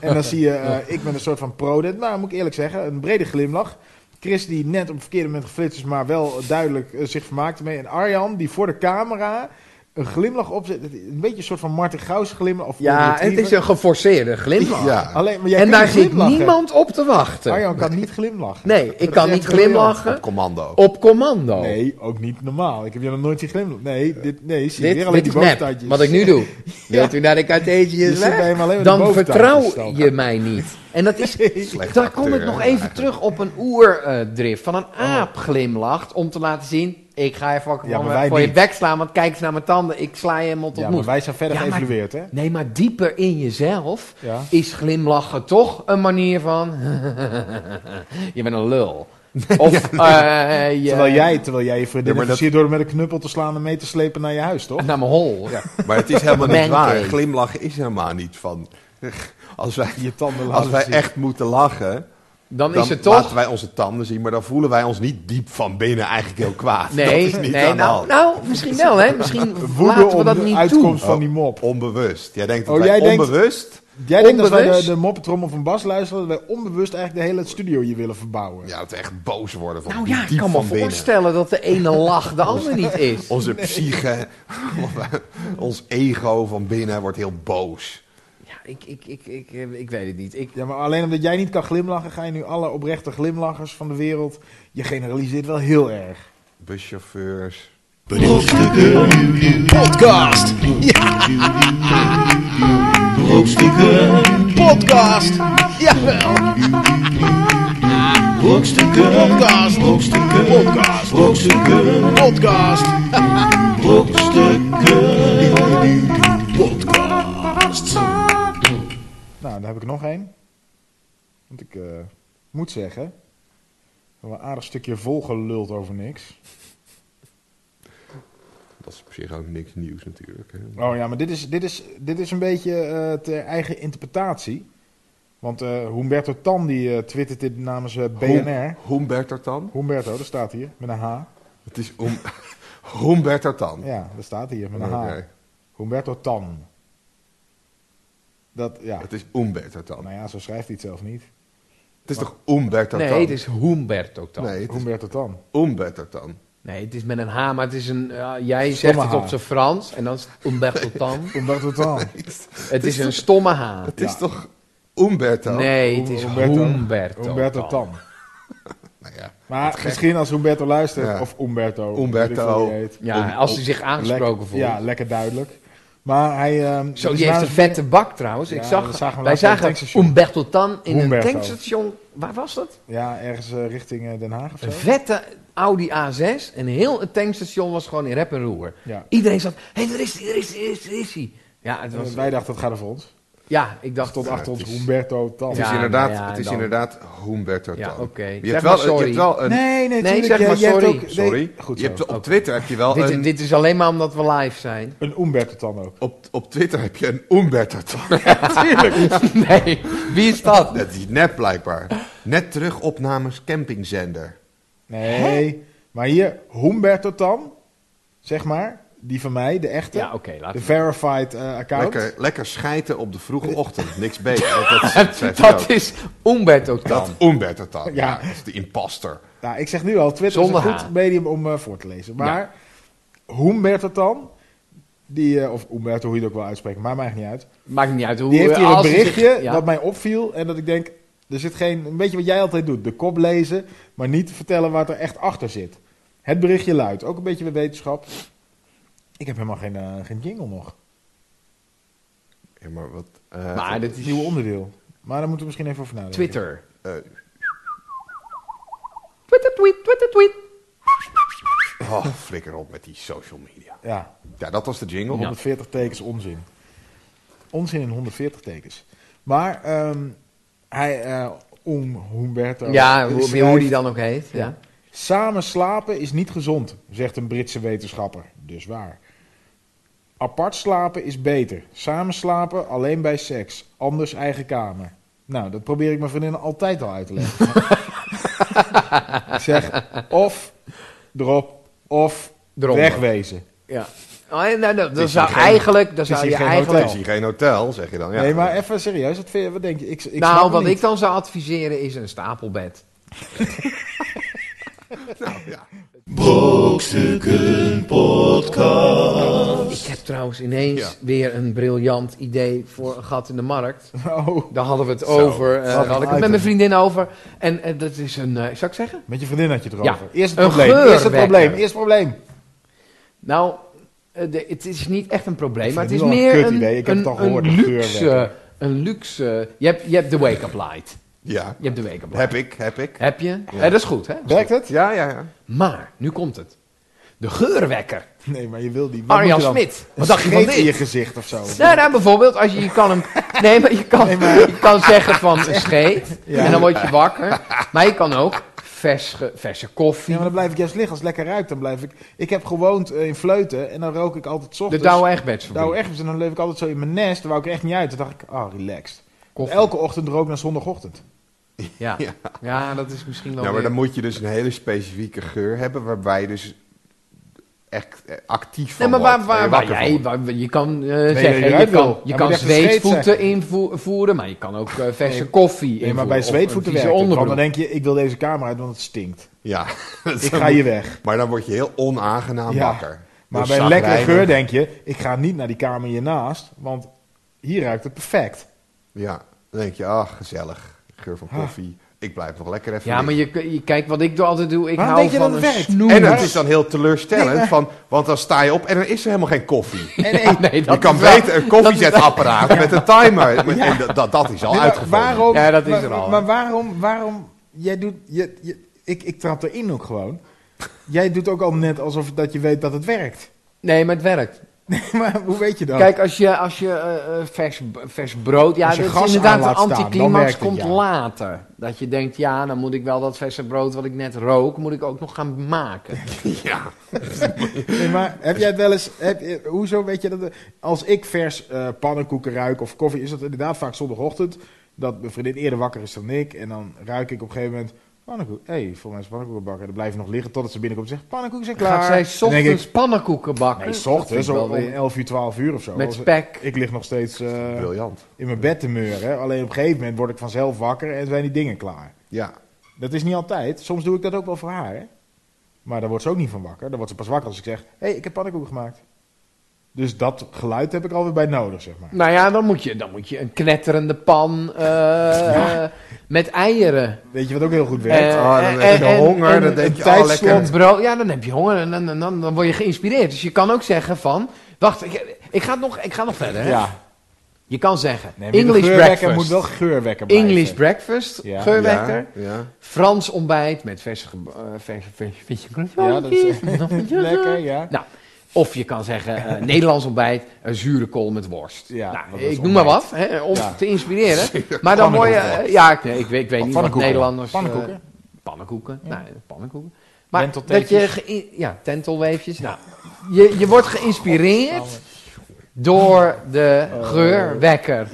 [SPEAKER 3] en dan zie je, eh, ik ben een soort van prodent. Nou, moet ik eerlijk zeggen, een brede glimlach. Chris die net op het verkeerde moment geflitst is, maar wel duidelijk eh, zich vermaakte mee. En Arjan die voor de camera een glimlach opzet. Het- Een beetje een soort van Martin Gauss glimlach. Of Golden
[SPEAKER 5] ja, het
[SPEAKER 3] Retriever.
[SPEAKER 5] is een geforceerde glimlach.
[SPEAKER 2] Ja.
[SPEAKER 3] Alleen, maar jij
[SPEAKER 5] en
[SPEAKER 3] kunt
[SPEAKER 5] daar
[SPEAKER 3] niet
[SPEAKER 5] zit
[SPEAKER 3] glimlachen.
[SPEAKER 5] niemand op te wachten.
[SPEAKER 3] Arjan kan niet glimlachen.
[SPEAKER 5] Nee, ik kan
[SPEAKER 3] is
[SPEAKER 5] niet
[SPEAKER 3] echt briljant.
[SPEAKER 5] glimlachen
[SPEAKER 2] Op commando.
[SPEAKER 5] op commando.
[SPEAKER 3] Nee, ook niet normaal. Ik heb je nog nooit zien glimlachen. Nee, dit, nee, zie je
[SPEAKER 5] Dit,
[SPEAKER 3] weer alleen
[SPEAKER 5] dit
[SPEAKER 3] die
[SPEAKER 5] is nep,
[SPEAKER 3] boontandjes.
[SPEAKER 5] wat ik nu doe. Wilt u naar de Cartesius
[SPEAKER 3] Je zit bij
[SPEAKER 5] weg?
[SPEAKER 3] hem alleen met de
[SPEAKER 5] Dan
[SPEAKER 3] boontandjes
[SPEAKER 5] vertrouw
[SPEAKER 3] dan.
[SPEAKER 5] je mij niet. En dat is,
[SPEAKER 2] Slecht
[SPEAKER 5] daar
[SPEAKER 2] acteur,
[SPEAKER 5] kom ik
[SPEAKER 2] hè,
[SPEAKER 5] nog even
[SPEAKER 2] eigenlijk.
[SPEAKER 5] terug op een oerdrift. Van een aap glimlacht om te laten zien... Ik ga even
[SPEAKER 3] Oh. Ja, maar
[SPEAKER 5] voor-
[SPEAKER 3] wij
[SPEAKER 5] voor je
[SPEAKER 3] niet.
[SPEAKER 5] bek slaan, want kijk eens naar mijn tanden. Ik sla je helemaal tot
[SPEAKER 3] Ja, maar
[SPEAKER 5] moed.
[SPEAKER 3] wij zijn verder
[SPEAKER 5] Ja, maar-
[SPEAKER 3] geëvalueerd, hè?
[SPEAKER 5] Nee, maar dieper in jezelf
[SPEAKER 3] Ja.
[SPEAKER 5] is glimlachen toch een manier van... je bent een lul. Of eh, je-
[SPEAKER 3] Terwijl, jij, terwijl jij je vriendin
[SPEAKER 2] Ja, maar dat-
[SPEAKER 3] versiert door hem met een knuppel te slaan en mee te slepen naar je huis, toch?
[SPEAKER 5] Naar mijn hol.
[SPEAKER 2] Maar het is helemaal niet
[SPEAKER 5] Man
[SPEAKER 2] waar.
[SPEAKER 5] cave.
[SPEAKER 2] Glimlachen is helemaal niet van... Als wij,
[SPEAKER 3] Je tanden laten
[SPEAKER 2] als wij
[SPEAKER 3] zien.
[SPEAKER 2] echt moeten lachen,
[SPEAKER 5] Dan,
[SPEAKER 2] dan
[SPEAKER 5] is het
[SPEAKER 2] laten
[SPEAKER 5] toch...
[SPEAKER 2] wij onze tanden zien. Maar dan voelen wij ons niet diep van binnen eigenlijk heel kwaad.
[SPEAKER 5] Nee,
[SPEAKER 2] dat is niet
[SPEAKER 5] nee
[SPEAKER 2] aan de
[SPEAKER 5] nou,
[SPEAKER 2] hand.
[SPEAKER 5] nou, misschien wel, hè. Misschien
[SPEAKER 3] Woede
[SPEAKER 5] laten we
[SPEAKER 3] om
[SPEAKER 5] dat
[SPEAKER 3] de
[SPEAKER 5] niet
[SPEAKER 3] uitkomst
[SPEAKER 5] toe.
[SPEAKER 3] van die mop.
[SPEAKER 2] Onbewust. Jij denkt dat
[SPEAKER 3] Oh,
[SPEAKER 2] wij
[SPEAKER 3] jij denkt-
[SPEAKER 2] onbewust...
[SPEAKER 3] Jij denkt dat wij de,
[SPEAKER 5] Onbewust?
[SPEAKER 3] de moppetrommel van Bas luisteren, dat wij onbewust eigenlijk de hele studio hier willen verbouwen.
[SPEAKER 2] Ja, dat we echt boos worden van
[SPEAKER 5] Nou
[SPEAKER 2] diep,
[SPEAKER 5] ja, ik
[SPEAKER 2] diep
[SPEAKER 5] kan me
[SPEAKER 2] van binnen.
[SPEAKER 5] voorstellen dat de ene lach de andere niet is.
[SPEAKER 2] Onze psyche, eh, ons ego van binnen wordt heel boos.
[SPEAKER 5] Ja, ik, ik, ik, ik, eh, ik weet het niet. Ik,
[SPEAKER 3] Ja, maar alleen omdat jij niet kan glimlachen, ga je nu alle oprechte glimlachers van de wereld. Je generaliseert wel heel erg.
[SPEAKER 2] Buschauffeurs.
[SPEAKER 1] Brokstukken
[SPEAKER 7] Podcast.
[SPEAKER 1] brokstukken,
[SPEAKER 7] Podcast. Jawel.
[SPEAKER 1] brokstukken,
[SPEAKER 7] Podcast.
[SPEAKER 1] brokstukken,
[SPEAKER 7] Podcast.
[SPEAKER 1] brokstukken,
[SPEAKER 7] Podcast.
[SPEAKER 1] brokstukken.
[SPEAKER 3] Nou, dan heb ik nog één. Want ik eh, moet zeggen, we hebben een aardig stukje volgeluld over niks.
[SPEAKER 2] Dat is op zich ook niks nieuws natuurlijk. Hè.
[SPEAKER 3] Oh ja, maar dit is, dit is, dit is een beetje eh ter eigen interpretatie. Want eh Humberto Tan die eh, twittert dit namens eh, BNR.
[SPEAKER 2] Humberto Tan.
[SPEAKER 3] Humberto, dat staat hier, met een H.
[SPEAKER 2] Het is Hum- Humberto Tan.
[SPEAKER 3] Ja, dat staat hier, met een H.
[SPEAKER 2] Oké.
[SPEAKER 3] Humberto Tan. Dat, ja.
[SPEAKER 2] Het is Humberto Tan.
[SPEAKER 3] Nou ja, zo schrijft hij het zelf niet.
[SPEAKER 2] Het is toch Humberto Tan?
[SPEAKER 5] Nee, het is Humberto Tan.
[SPEAKER 2] Nee, het is
[SPEAKER 3] Humberto Tan.
[SPEAKER 2] Humberto Tan.
[SPEAKER 5] Nee, het is met een H, maar het is een... ja, jij
[SPEAKER 3] Stomme
[SPEAKER 5] zegt het
[SPEAKER 3] H.
[SPEAKER 5] op zijn Frans en dan is het Humberto Tan.
[SPEAKER 3] Humberto Tan.
[SPEAKER 5] Het is een stomme H.
[SPEAKER 2] Het is toch Humberto?
[SPEAKER 5] Nee, het is
[SPEAKER 3] Humberto-
[SPEAKER 5] Humberto,
[SPEAKER 3] Humberto
[SPEAKER 5] Tan.
[SPEAKER 3] Tan.
[SPEAKER 2] Nou ja,
[SPEAKER 3] Maar misschien als Humberto luistert,
[SPEAKER 2] Ja.
[SPEAKER 3] of Umberto.
[SPEAKER 2] Humberto.
[SPEAKER 3] weet ik hoe die heet.
[SPEAKER 5] Ja, als hij zich aangesproken
[SPEAKER 3] Lekker-
[SPEAKER 5] voelt.
[SPEAKER 3] Ja, lekker duidelijk. Maar hij... ehm,
[SPEAKER 5] Zo,
[SPEAKER 3] dus
[SPEAKER 5] die heeft
[SPEAKER 3] nou-
[SPEAKER 5] een vette bak trouwens.
[SPEAKER 3] Ja,
[SPEAKER 5] Ik
[SPEAKER 3] dat
[SPEAKER 5] zag,
[SPEAKER 3] zagen we laatst
[SPEAKER 5] wij
[SPEAKER 3] bij
[SPEAKER 5] zagen
[SPEAKER 3] een tankstation.
[SPEAKER 5] Humberto Tan in
[SPEAKER 3] Humberto.
[SPEAKER 5] een tankstation. Waar was dat?
[SPEAKER 3] Ja, ergens eh, richting eh, Den Haag of zo.
[SPEAKER 5] Een vette Audi A6. En heel het tankstation was gewoon in rep en roer.
[SPEAKER 3] Ja.
[SPEAKER 5] Iedereen zat, hé, daar is hij, daar is hij, daar is hij, daar is hij. Ja, het
[SPEAKER 3] Eh,
[SPEAKER 5] was,
[SPEAKER 3] wij dachten, dat gaat over ons.
[SPEAKER 5] ja, ik dacht... eh,
[SPEAKER 3] Tot
[SPEAKER 2] Ja,
[SPEAKER 3] achter
[SPEAKER 2] het
[SPEAKER 3] ons
[SPEAKER 2] is-
[SPEAKER 3] Humberto Tan.
[SPEAKER 2] het is
[SPEAKER 5] Ja,
[SPEAKER 2] inderdaad,
[SPEAKER 5] nou ja,
[SPEAKER 2] het is
[SPEAKER 5] dan-
[SPEAKER 2] inderdaad Humberto
[SPEAKER 5] Ja,
[SPEAKER 2] Tan.
[SPEAKER 5] oké.
[SPEAKER 2] Je,
[SPEAKER 5] Zeg
[SPEAKER 2] hebt
[SPEAKER 5] maar
[SPEAKER 2] wel, je hebt
[SPEAKER 5] sorry.
[SPEAKER 2] wel een...
[SPEAKER 3] Nee, nee,
[SPEAKER 5] Nee,
[SPEAKER 3] tuurlijk,
[SPEAKER 5] zeg
[SPEAKER 3] jij-
[SPEAKER 5] maar
[SPEAKER 3] jij hebt
[SPEAKER 5] sorry.
[SPEAKER 3] ook- nee,
[SPEAKER 2] Sorry.
[SPEAKER 3] Goed
[SPEAKER 2] je
[SPEAKER 3] zo.
[SPEAKER 2] hebt, op Twitter heb je wel
[SPEAKER 5] Dit,
[SPEAKER 2] een...
[SPEAKER 5] dit is alleen maar omdat we live zijn.
[SPEAKER 3] Een Umberto Tan ook.
[SPEAKER 2] Op, op Twitter heb je een Umberto Tan.
[SPEAKER 5] nee, wie is dat?
[SPEAKER 2] Dat is net blijkbaar. Net terug op namens campingzender.
[SPEAKER 3] Nee, maar hier, Humberto Tan, zeg maar, die van mij, de echte,
[SPEAKER 5] Ja, oké, laat
[SPEAKER 3] de
[SPEAKER 5] laten
[SPEAKER 3] verified eh, account.
[SPEAKER 2] Lekker, lekker schijten op de vroege ochtend. Niks beter. Want Dat,
[SPEAKER 5] we.
[SPEAKER 2] dat,
[SPEAKER 5] Dat is Humberto
[SPEAKER 2] dat
[SPEAKER 5] Tan.
[SPEAKER 2] Umberto Tan. Ja.
[SPEAKER 3] Ja.
[SPEAKER 2] dat is de imposter.
[SPEAKER 3] Nou, ik zeg nu al, Twitter is
[SPEAKER 5] Zonder
[SPEAKER 3] een goed
[SPEAKER 5] H.
[SPEAKER 3] medium om eh, voor te lezen. Maar Humberto Tan, die, eh, of Humberto, hoe je het ook wil uitspreken, maar maakt niet uit.
[SPEAKER 5] Maakt niet uit hoe... eh,
[SPEAKER 3] Die heeft hier een
[SPEAKER 5] als hij zich-
[SPEAKER 3] berichtje
[SPEAKER 5] ja.
[SPEAKER 3] dat mij opviel en dat ik denk, er zit geen, een beetje wat jij altijd doet, de kop lezen, maar niet vertellen wat er echt achter zit. Het berichtje luidt, ook een beetje weer wetenschap. Ik heb helemaal geen, eh, geen jingle nog.
[SPEAKER 2] Ja, maar wat... eh,
[SPEAKER 5] Maar dat
[SPEAKER 3] Het
[SPEAKER 5] is
[SPEAKER 3] nieuwe onderdeel. Maar daar moeten we misschien even over nadenken.
[SPEAKER 5] Twitter.
[SPEAKER 2] eh,
[SPEAKER 5] Twitter, tweet, Twitter, tweet.
[SPEAKER 2] oh, flikker op met die social media.
[SPEAKER 3] Ja,
[SPEAKER 2] Ja, dat was de jingle.
[SPEAKER 3] 140 tekens onzin. Onzin in 140 tekens. Maar ehm, hij, eh Oem Humberto.
[SPEAKER 5] Ja, hoe,
[SPEAKER 3] schrijft,
[SPEAKER 5] hoe die dan ook heet. Ja.
[SPEAKER 3] Samen slapen is niet gezond, zegt een Britse wetenschapper. Dus waar. Apart slapen is beter. Samen slapen alleen bij seks. Anders eigen kamer. Nou, dat probeer ik mijn vriendinnen altijd al uit te leggen. ik zeg of erop of
[SPEAKER 5] Eronder.
[SPEAKER 3] wegwezen.
[SPEAKER 5] Ja. Oh, ja, nou, dat-
[SPEAKER 2] hier
[SPEAKER 5] dan zou
[SPEAKER 2] geen-
[SPEAKER 5] eigenlijk, dan
[SPEAKER 3] is
[SPEAKER 5] zou
[SPEAKER 3] hier
[SPEAKER 5] je
[SPEAKER 3] geen
[SPEAKER 2] Het
[SPEAKER 5] eigenlijk.
[SPEAKER 2] is hier geen hotel, zeg je dan. Ja.
[SPEAKER 3] nee, maar even serieus, wat, vind je, wat denk je? Ik, ik snap
[SPEAKER 5] nou,
[SPEAKER 3] het
[SPEAKER 5] wat
[SPEAKER 3] niet.
[SPEAKER 5] ik dan zou adviseren is een stapelbed.
[SPEAKER 1] Brokstukken podcast.
[SPEAKER 5] Ik heb trouwens ineens
[SPEAKER 2] Ja.
[SPEAKER 5] weer een briljant idee voor een gat in de markt.
[SPEAKER 3] Oh,
[SPEAKER 5] Daar hadden we het
[SPEAKER 2] Zo,
[SPEAKER 5] over. eh,
[SPEAKER 3] wat
[SPEAKER 5] daar had ik
[SPEAKER 3] een
[SPEAKER 5] het met
[SPEAKER 3] item.
[SPEAKER 5] mijn vriendin over. En eh, dat is een, eh zou ik zeggen?
[SPEAKER 3] met je vriendin had je het
[SPEAKER 5] Ja.
[SPEAKER 3] erover. Eerst het
[SPEAKER 5] Een
[SPEAKER 3] probleem, eerst het
[SPEAKER 5] geurwekker.
[SPEAKER 3] probleem, eerst het probleem.
[SPEAKER 5] Nou, eh, de- het is niet echt een probleem, maar het
[SPEAKER 3] vind
[SPEAKER 5] is
[SPEAKER 3] het nu al een
[SPEAKER 5] meer
[SPEAKER 3] kut
[SPEAKER 5] een,
[SPEAKER 3] idee. Ik heb
[SPEAKER 5] een-
[SPEAKER 3] het al gehoord,
[SPEAKER 5] een
[SPEAKER 3] een
[SPEAKER 5] luxe.
[SPEAKER 3] geurwekker.
[SPEAKER 5] Een luxe. Je hebt, je hebt de wake-up light.
[SPEAKER 2] Ja,
[SPEAKER 5] Je hebt de wake-up light.
[SPEAKER 2] heb ik, heb ik.
[SPEAKER 5] Heb je? Eh, dat is goed, hè?
[SPEAKER 3] Werkt het?
[SPEAKER 2] Ja, ja, ja.
[SPEAKER 5] Maar, nu komt het. De geurwekker.
[SPEAKER 3] Nee, maar je wil die. Wat moet
[SPEAKER 5] Arjan
[SPEAKER 3] je dan?
[SPEAKER 5] Smit.
[SPEAKER 3] Een
[SPEAKER 5] Wat dacht je van
[SPEAKER 3] scheet in je
[SPEAKER 5] dit?
[SPEAKER 3] gezicht of zo.
[SPEAKER 5] Nou, nou, bijvoorbeeld, als je, je kan hem... Nee, maar je kan, je kan zeggen van een scheet.
[SPEAKER 3] Ja.
[SPEAKER 5] En dan word je wakker. Maar je kan ook vers, ge- verse koffie.
[SPEAKER 3] Ja, maar dan blijf ik juist liggen. Als het lekker ruikt, dan blijf ik... Ik heb gewoond eh, in Vleuten en dan rook ik altijd 's
[SPEAKER 5] de
[SPEAKER 3] ochtends...
[SPEAKER 5] Douwe Egbertsfabriek.
[SPEAKER 3] Douwe Egberts. En dan leef ik altijd zo in mijn nest. Daar wou ik er echt niet uit. Toen dacht ik, ah, relaxed.
[SPEAKER 5] Koffie.
[SPEAKER 3] Elke ochtend rook naar zondagochtend.
[SPEAKER 5] Ja. ja, dat is misschien wel
[SPEAKER 2] Ja, maar dan
[SPEAKER 5] weer-
[SPEAKER 2] moet je dus een hele specifieke geur hebben waarbij je dus echt eh, actief van
[SPEAKER 5] Nee, maar waar,
[SPEAKER 2] wordt en
[SPEAKER 5] waar,
[SPEAKER 2] je
[SPEAKER 5] waar
[SPEAKER 2] wakker
[SPEAKER 5] jij...
[SPEAKER 2] wordt.
[SPEAKER 5] waar- je kan eh,
[SPEAKER 3] je
[SPEAKER 5] zeggen, je,
[SPEAKER 3] eruit wil.
[SPEAKER 5] kan, je
[SPEAKER 3] Ja,
[SPEAKER 5] kan
[SPEAKER 3] maar dat is een scheet,
[SPEAKER 5] zweetvoeten
[SPEAKER 3] zeg.
[SPEAKER 5] invoeren, maar je kan ook eh, verse koffie invoeren.
[SPEAKER 3] Nee, maar bij
[SPEAKER 5] of een
[SPEAKER 3] zweetvoeten
[SPEAKER 5] vieze
[SPEAKER 3] werkt het. Want dan
[SPEAKER 5] onderbroek.
[SPEAKER 3] denk je, ik wil deze kamer uit, want het stinkt.
[SPEAKER 2] Ja.
[SPEAKER 3] Ik ga hier weg.
[SPEAKER 2] Maar dan word je heel onaangenaam
[SPEAKER 3] Ja,
[SPEAKER 2] wakker.
[SPEAKER 3] Maar
[SPEAKER 2] Dus
[SPEAKER 3] bij een lekkere
[SPEAKER 2] zagrijnig.
[SPEAKER 3] geur denk je, ik ga niet naar die kamer hiernaast, want hier ruikt het perfect.
[SPEAKER 2] Ja, dan denk je, ah, gezellig. Geur
[SPEAKER 3] Ah.
[SPEAKER 2] van koffie. Ik blijf nog lekker even
[SPEAKER 5] Ja, maar
[SPEAKER 2] liggen.
[SPEAKER 5] je, je kijk wat ik doe- altijd doe. Ik
[SPEAKER 3] Waarom
[SPEAKER 5] hou
[SPEAKER 3] denk je
[SPEAKER 5] van
[SPEAKER 3] dat
[SPEAKER 5] een
[SPEAKER 3] het werkt?
[SPEAKER 5] snoer.
[SPEAKER 2] En het is dan heel teleurstellend,
[SPEAKER 3] Nee, maar-
[SPEAKER 2] van, want dan sta je op en dan is er helemaal geen koffie.
[SPEAKER 3] En
[SPEAKER 5] Ja, nee, dat
[SPEAKER 2] je kan
[SPEAKER 5] is wel-
[SPEAKER 2] beter een koffiezetapparaat met een timer. En dat- dat, dat is al
[SPEAKER 3] Nee, maar
[SPEAKER 2] uitgevonden.
[SPEAKER 3] Waarom,
[SPEAKER 5] Ja, dat is
[SPEAKER 3] maar-
[SPEAKER 5] er al, hè.
[SPEAKER 3] Maar waarom, waarom, jij doet, je, je- ik, ik trap erin ook gewoon. Jij doet ook al net alsof dat je weet dat het werkt.
[SPEAKER 5] Nee, maar het werkt.
[SPEAKER 3] maar hoe weet je dat?
[SPEAKER 5] Kijk, als je, als je eh, eh, vers, vers brood... Ja,
[SPEAKER 3] Als je
[SPEAKER 5] dat is
[SPEAKER 3] gas aan
[SPEAKER 5] inderdaad een
[SPEAKER 3] laat staan, dan
[SPEAKER 5] anticlimax
[SPEAKER 3] werkt het,
[SPEAKER 5] komt
[SPEAKER 3] ja.
[SPEAKER 5] later. Dat je denkt, ja, dan moet ik wel dat verse brood wat ik net rook... moet ik ook nog gaan maken.
[SPEAKER 2] Ja,
[SPEAKER 3] Nee, maar heb jij het wel eens, heb, je- hoezo weet je dat, als ik vers eh, pannenkoeken ruik of koffie, is dat inderdaad vaak zondagochtend. dat mijn vriendin eerder wakker is dan ik. En dan ruik ik op een gegeven moment pannenkoek. Hé, hey, volgens mij is pannenkoeken bakken. En dan blijf je nog liggen totdat ze binnenkomt en zegt pannenkoeken zijn klaar.
[SPEAKER 5] Gaat zij
[SPEAKER 3] Dan denk
[SPEAKER 5] ochtends
[SPEAKER 3] ik,
[SPEAKER 5] pannenkoeken bakken?
[SPEAKER 3] Nee,
[SPEAKER 5] Dat
[SPEAKER 3] s
[SPEAKER 5] vind ik
[SPEAKER 3] ochtends,
[SPEAKER 5] wel
[SPEAKER 3] om
[SPEAKER 5] weer-
[SPEAKER 3] 11 uur, 12 uur of zo.
[SPEAKER 5] Met
[SPEAKER 3] Als-
[SPEAKER 5] spek.
[SPEAKER 3] Ik lig nog steeds eh,
[SPEAKER 2] Briljant.
[SPEAKER 3] in mijn bed te meuren. Alleen op een gegeven moment word ik vanzelf wakker en zijn die dingen klaar.
[SPEAKER 2] Ja.
[SPEAKER 3] Dat is niet altijd. Soms doe ik dat ook wel voor haar. Hè? Maar daar wordt ze ook niet van wakker. Dan wordt ze pas wakker als ik zeg: hé, hey, ik heb pannenkoeken gemaakt. Dus dat geluid heb ik alweer bij nodig, zeg maar.
[SPEAKER 5] Nou ja, dan moet je, dan moet je een knetterende pan eh, eh, met eieren.
[SPEAKER 3] Weet je wat ook heel goed werkt?
[SPEAKER 5] Eh,
[SPEAKER 2] oh, dan
[SPEAKER 5] eh,
[SPEAKER 2] heb je
[SPEAKER 5] en-
[SPEAKER 2] honger,
[SPEAKER 5] en-
[SPEAKER 2] dan
[SPEAKER 5] en
[SPEAKER 2] denk
[SPEAKER 5] een
[SPEAKER 2] je, oh, lekker.
[SPEAKER 5] tijdslot, bro- ja, dan heb je honger en dan, dan, dan, dan word je geïnspireerd. Dus je kan ook zeggen van... Wacht, ik, ik, ga, nog, ik ga nog verder. Hè?
[SPEAKER 3] ja.
[SPEAKER 5] Je kan zeggen,
[SPEAKER 3] Nee, maar de
[SPEAKER 5] English
[SPEAKER 3] geurwekker
[SPEAKER 5] breakfast.
[SPEAKER 3] moet wel geurwekker blijven.
[SPEAKER 5] English breakfast,
[SPEAKER 3] Ja.
[SPEAKER 5] geurwekker.
[SPEAKER 2] Ja. ja.
[SPEAKER 5] Frans ontbijt met verse... ge- eh, verse, verse, verse
[SPEAKER 3] Ja, dat is lekker, ja.
[SPEAKER 5] Nou, of je kan zeggen, eh, Nederlands ontbijt, een zure kool met worst.
[SPEAKER 3] Ja,
[SPEAKER 5] Nou,
[SPEAKER 3] want dat is
[SPEAKER 5] ik noem maar
[SPEAKER 3] ontbijt.
[SPEAKER 5] wat, hè, om
[SPEAKER 3] Ja.
[SPEAKER 5] te inspireren. Maar dan word je... eh, ja, ik, ik, weet- ik weet niet wat
[SPEAKER 3] pannenkoeken.
[SPEAKER 5] Nederlanders... eh,
[SPEAKER 3] Pannenkoeken.
[SPEAKER 5] pannenkoeken, nou, pannenkoeken. Maar dat je...
[SPEAKER 3] Wentelteefjes.
[SPEAKER 5] geïn- ja, tentelweefjes. Nou, je, je wordt geïnspireerd door de
[SPEAKER 3] Oh.
[SPEAKER 5] geurwekker.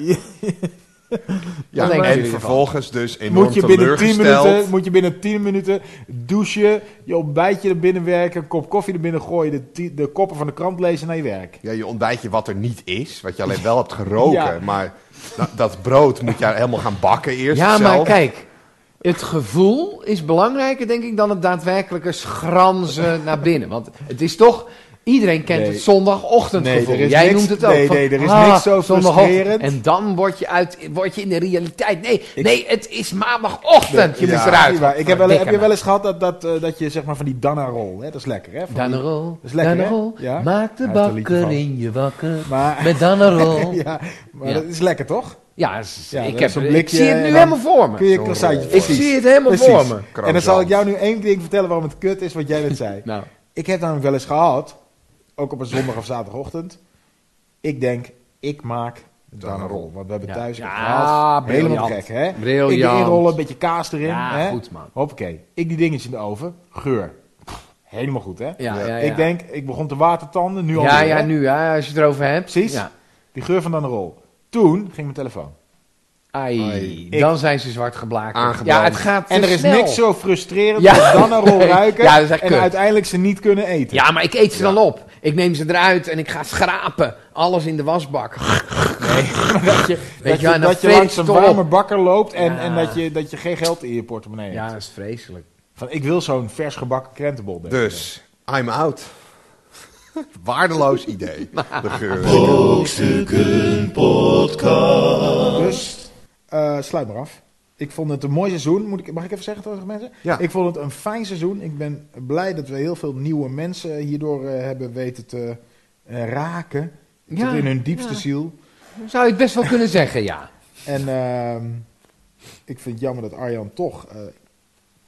[SPEAKER 2] Ja,
[SPEAKER 5] denken
[SPEAKER 2] en
[SPEAKER 5] jullie ervan?
[SPEAKER 2] vervolgens dus enorm
[SPEAKER 3] Moet je, binnen 10
[SPEAKER 2] teleurgesteld.
[SPEAKER 3] minuten, moet je binnen 10 minuten douchen, je ontbijtje er binnen werken, een kop koffie er binnen gooien, de, ti- de koppen van de krant lezen naar je werk.
[SPEAKER 2] Ja, je ontbijt je wat er niet is, wat je alleen wel hebt geroken.
[SPEAKER 3] Ja.
[SPEAKER 2] Maar da- dat brood moet je helemaal gaan bakken eerst
[SPEAKER 5] Ja,
[SPEAKER 2] zelf.
[SPEAKER 5] maar kijk. Het gevoel is belangrijker, denk ik, dan het daadwerkelijke schranzen naar binnen. Want het is toch... Iedereen kent
[SPEAKER 3] Nee.
[SPEAKER 5] het zondagochtendgevoel.
[SPEAKER 3] Nee, er is
[SPEAKER 5] Jij
[SPEAKER 3] niks-
[SPEAKER 5] noemt het ook.
[SPEAKER 3] nee,
[SPEAKER 5] van,
[SPEAKER 3] nee, er is
[SPEAKER 5] ah,
[SPEAKER 3] niks zo
[SPEAKER 5] zondagochtend.
[SPEAKER 3] frustrerend.
[SPEAKER 5] En dan word je, uit, word je in de realiteit. Nee, nee het is maandagochtend. Je
[SPEAKER 2] Ja.
[SPEAKER 5] moet eruit.
[SPEAKER 3] Niet waar. Ik heb, wel, heb
[SPEAKER 5] Verdikke
[SPEAKER 3] je
[SPEAKER 5] me.
[SPEAKER 3] wel eens gehad dat, dat, eh, dat je zeg maar van die Danarol, hè, dat is lekker hè? Van die-
[SPEAKER 5] Danarol,
[SPEAKER 3] is lekker, hè?
[SPEAKER 5] Danarol,
[SPEAKER 3] Ja.
[SPEAKER 5] maak de
[SPEAKER 3] Hij heeft er een liedje
[SPEAKER 5] bakker
[SPEAKER 3] van.
[SPEAKER 5] in je wakker.
[SPEAKER 3] Maar,
[SPEAKER 5] Met Danarol. ja,
[SPEAKER 3] ja, maar
[SPEAKER 5] Ja.
[SPEAKER 3] dat is lekker toch?
[SPEAKER 5] s-
[SPEAKER 3] Ja,
[SPEAKER 5] ik,
[SPEAKER 3] dat
[SPEAKER 5] heb,
[SPEAKER 3] is zo'n
[SPEAKER 5] ik
[SPEAKER 3] blikje
[SPEAKER 5] zie het
[SPEAKER 3] en
[SPEAKER 5] nu
[SPEAKER 3] dan
[SPEAKER 5] helemaal voor
[SPEAKER 3] Kun
[SPEAKER 5] me.
[SPEAKER 3] je een croissantje
[SPEAKER 5] Ik zie het helemaal voor me.
[SPEAKER 3] En dan zal ik jou nu één ding vertellen waarom het kut is wat jij net zei.
[SPEAKER 5] Nou,
[SPEAKER 3] Ik heb namelijk wel eens gehad, ook op een zondag of zaterdagochtend. Ik denk, ik maak dan een rol. Want we hebben
[SPEAKER 5] Ja.
[SPEAKER 3] thuis
[SPEAKER 5] Ja,
[SPEAKER 3] gehaald. Helemaal
[SPEAKER 5] briljant.
[SPEAKER 3] gek, hè?
[SPEAKER 5] Briljant.
[SPEAKER 3] Ik inrollen, een beetje kaas erin.
[SPEAKER 5] Ja,
[SPEAKER 3] hè?
[SPEAKER 5] goed, man.
[SPEAKER 3] Hoppakee. Ik die dingetjes in de oven. Geur. Pff, Helemaal goed, hè?
[SPEAKER 5] ja, ja, ja.
[SPEAKER 3] Ik denk, ik begon te watertanden. Nu al
[SPEAKER 5] Ja,
[SPEAKER 3] weer,
[SPEAKER 5] ja,
[SPEAKER 3] hè?
[SPEAKER 5] nu, ja, als je het erover hebt.
[SPEAKER 3] Precies.
[SPEAKER 5] Ja.
[SPEAKER 3] Die geur van dan een rol. Toen ging mijn telefoon.
[SPEAKER 5] Ai,
[SPEAKER 2] Ai.
[SPEAKER 5] dan zijn ze zwart geblakerd.
[SPEAKER 2] Aangebrand.
[SPEAKER 5] Ja, het gaat te
[SPEAKER 3] En er is
[SPEAKER 5] snel.
[SPEAKER 3] niks zo frustrerend
[SPEAKER 5] Ja.
[SPEAKER 3] als dan een rol
[SPEAKER 5] Nee.
[SPEAKER 3] ruiken
[SPEAKER 5] Ja, dat is echt
[SPEAKER 3] en
[SPEAKER 5] kut.
[SPEAKER 3] uiteindelijk ze niet kunnen eten.
[SPEAKER 5] Ja, maar ik eet ze dan op. Ik neem ze eruit en ik ga schrapen. Alles in de wasbak.
[SPEAKER 3] dat je, dat
[SPEAKER 5] je
[SPEAKER 3] je,
[SPEAKER 5] wel, en dan
[SPEAKER 3] dat je
[SPEAKER 5] vreet
[SPEAKER 3] langs een
[SPEAKER 5] het toch
[SPEAKER 3] warme
[SPEAKER 5] op.
[SPEAKER 3] bakker loopt en,
[SPEAKER 5] Ja.
[SPEAKER 3] en dat, je, dat je geen geld in je portemonnee
[SPEAKER 5] Ja,
[SPEAKER 3] hebt.
[SPEAKER 5] dat is vreselijk.
[SPEAKER 3] Van, ik wil zo'n vers gebakken krentenbol. denk ik.
[SPEAKER 2] Dus, I'm out. Waardeloos idee. De geur.
[SPEAKER 1] Brokstukken Podcast.
[SPEAKER 3] Dus, eh, sluit maar af. Ik vond het een mooi seizoen. Moet ik, mag ik even zeggen tegen mensen?
[SPEAKER 2] Ja.
[SPEAKER 3] Ik vond het een fijn seizoen. Ik ben blij dat we heel veel nieuwe mensen hierdoor eh, hebben weten te eh, raken.
[SPEAKER 5] Ja,
[SPEAKER 3] Tot in hun diepste
[SPEAKER 5] ja.
[SPEAKER 3] ziel.
[SPEAKER 5] Zou je het best wel kunnen zeggen, ja.
[SPEAKER 3] En ehm, ik vind het jammer dat Arjan toch eh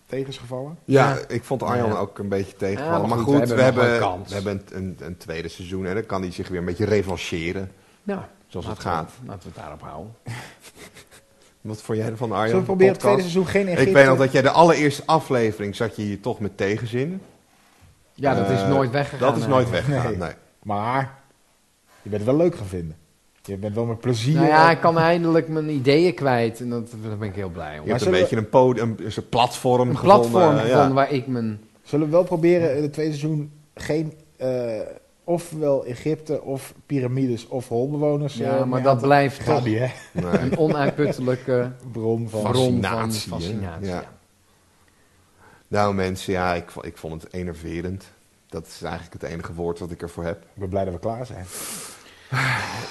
[SPEAKER 3] tegen is gevallen.
[SPEAKER 2] Ja, ik vond Arjan
[SPEAKER 5] Ja.
[SPEAKER 2] ook een beetje
[SPEAKER 5] Ja,
[SPEAKER 2] tegenvallen.
[SPEAKER 5] maar
[SPEAKER 2] maar
[SPEAKER 5] goed, we
[SPEAKER 2] goed,
[SPEAKER 5] hebben
[SPEAKER 2] we
[SPEAKER 5] nog
[SPEAKER 2] hebben,
[SPEAKER 5] een kans.
[SPEAKER 2] we hebben een, een, een tweede seizoen. En dan kan hij zich weer een beetje revancheren.
[SPEAKER 5] ja
[SPEAKER 2] Zoals het
[SPEAKER 5] Nou, laten we-
[SPEAKER 2] gaat.
[SPEAKER 5] Laten we het daarop houden.
[SPEAKER 2] Wat vond jij ervan,
[SPEAKER 3] Zullen
[SPEAKER 2] Arjan?
[SPEAKER 3] we proberen het
[SPEAKER 2] Podcast?
[SPEAKER 3] tweede seizoen geen Egypte?
[SPEAKER 2] Ik weet nog dat jij de allereerste aflevering zat je hier toch met tegenzin.
[SPEAKER 5] Ja, dat is
[SPEAKER 2] Eh,
[SPEAKER 5] nooit weggegaan.
[SPEAKER 2] Dat is nooit
[SPEAKER 5] eigenlijk.
[SPEAKER 2] weggegaan, nee.
[SPEAKER 3] Maar je bent het wel leuk gaan vinden. Je bent wel met plezier.
[SPEAKER 5] Nou ja, ik kan eindelijk mijn ideeën kwijt. En dat, daar ben ik heel blij om.
[SPEAKER 2] Je hebt een
[SPEAKER 3] zullen we-
[SPEAKER 2] beetje een, podium, een soort platform
[SPEAKER 5] Een platform
[SPEAKER 3] eh,
[SPEAKER 2] gevonden.
[SPEAKER 5] gevonden
[SPEAKER 2] Ja.
[SPEAKER 5] waar ik mijn...
[SPEAKER 3] Zullen we wel proberen in het tweede seizoen geen. eh, ofwel Egypte, of piramides, of holbewoners. eh,
[SPEAKER 5] Ja, maar
[SPEAKER 3] meer
[SPEAKER 5] dat
[SPEAKER 3] aan te-
[SPEAKER 5] blijft
[SPEAKER 3] Gaat
[SPEAKER 5] toch
[SPEAKER 3] niet, hè?
[SPEAKER 2] Nee.
[SPEAKER 5] een onuitputtelijke...
[SPEAKER 3] Bron van.
[SPEAKER 5] Bron. van
[SPEAKER 2] hè?
[SPEAKER 5] fascinatie, ja.
[SPEAKER 2] Nou mensen, ja, ik, vo- ik vond het enerverend. Dat is eigenlijk het enige woord wat ik ervoor heb.
[SPEAKER 3] Ik ben blij dat we klaar zijn.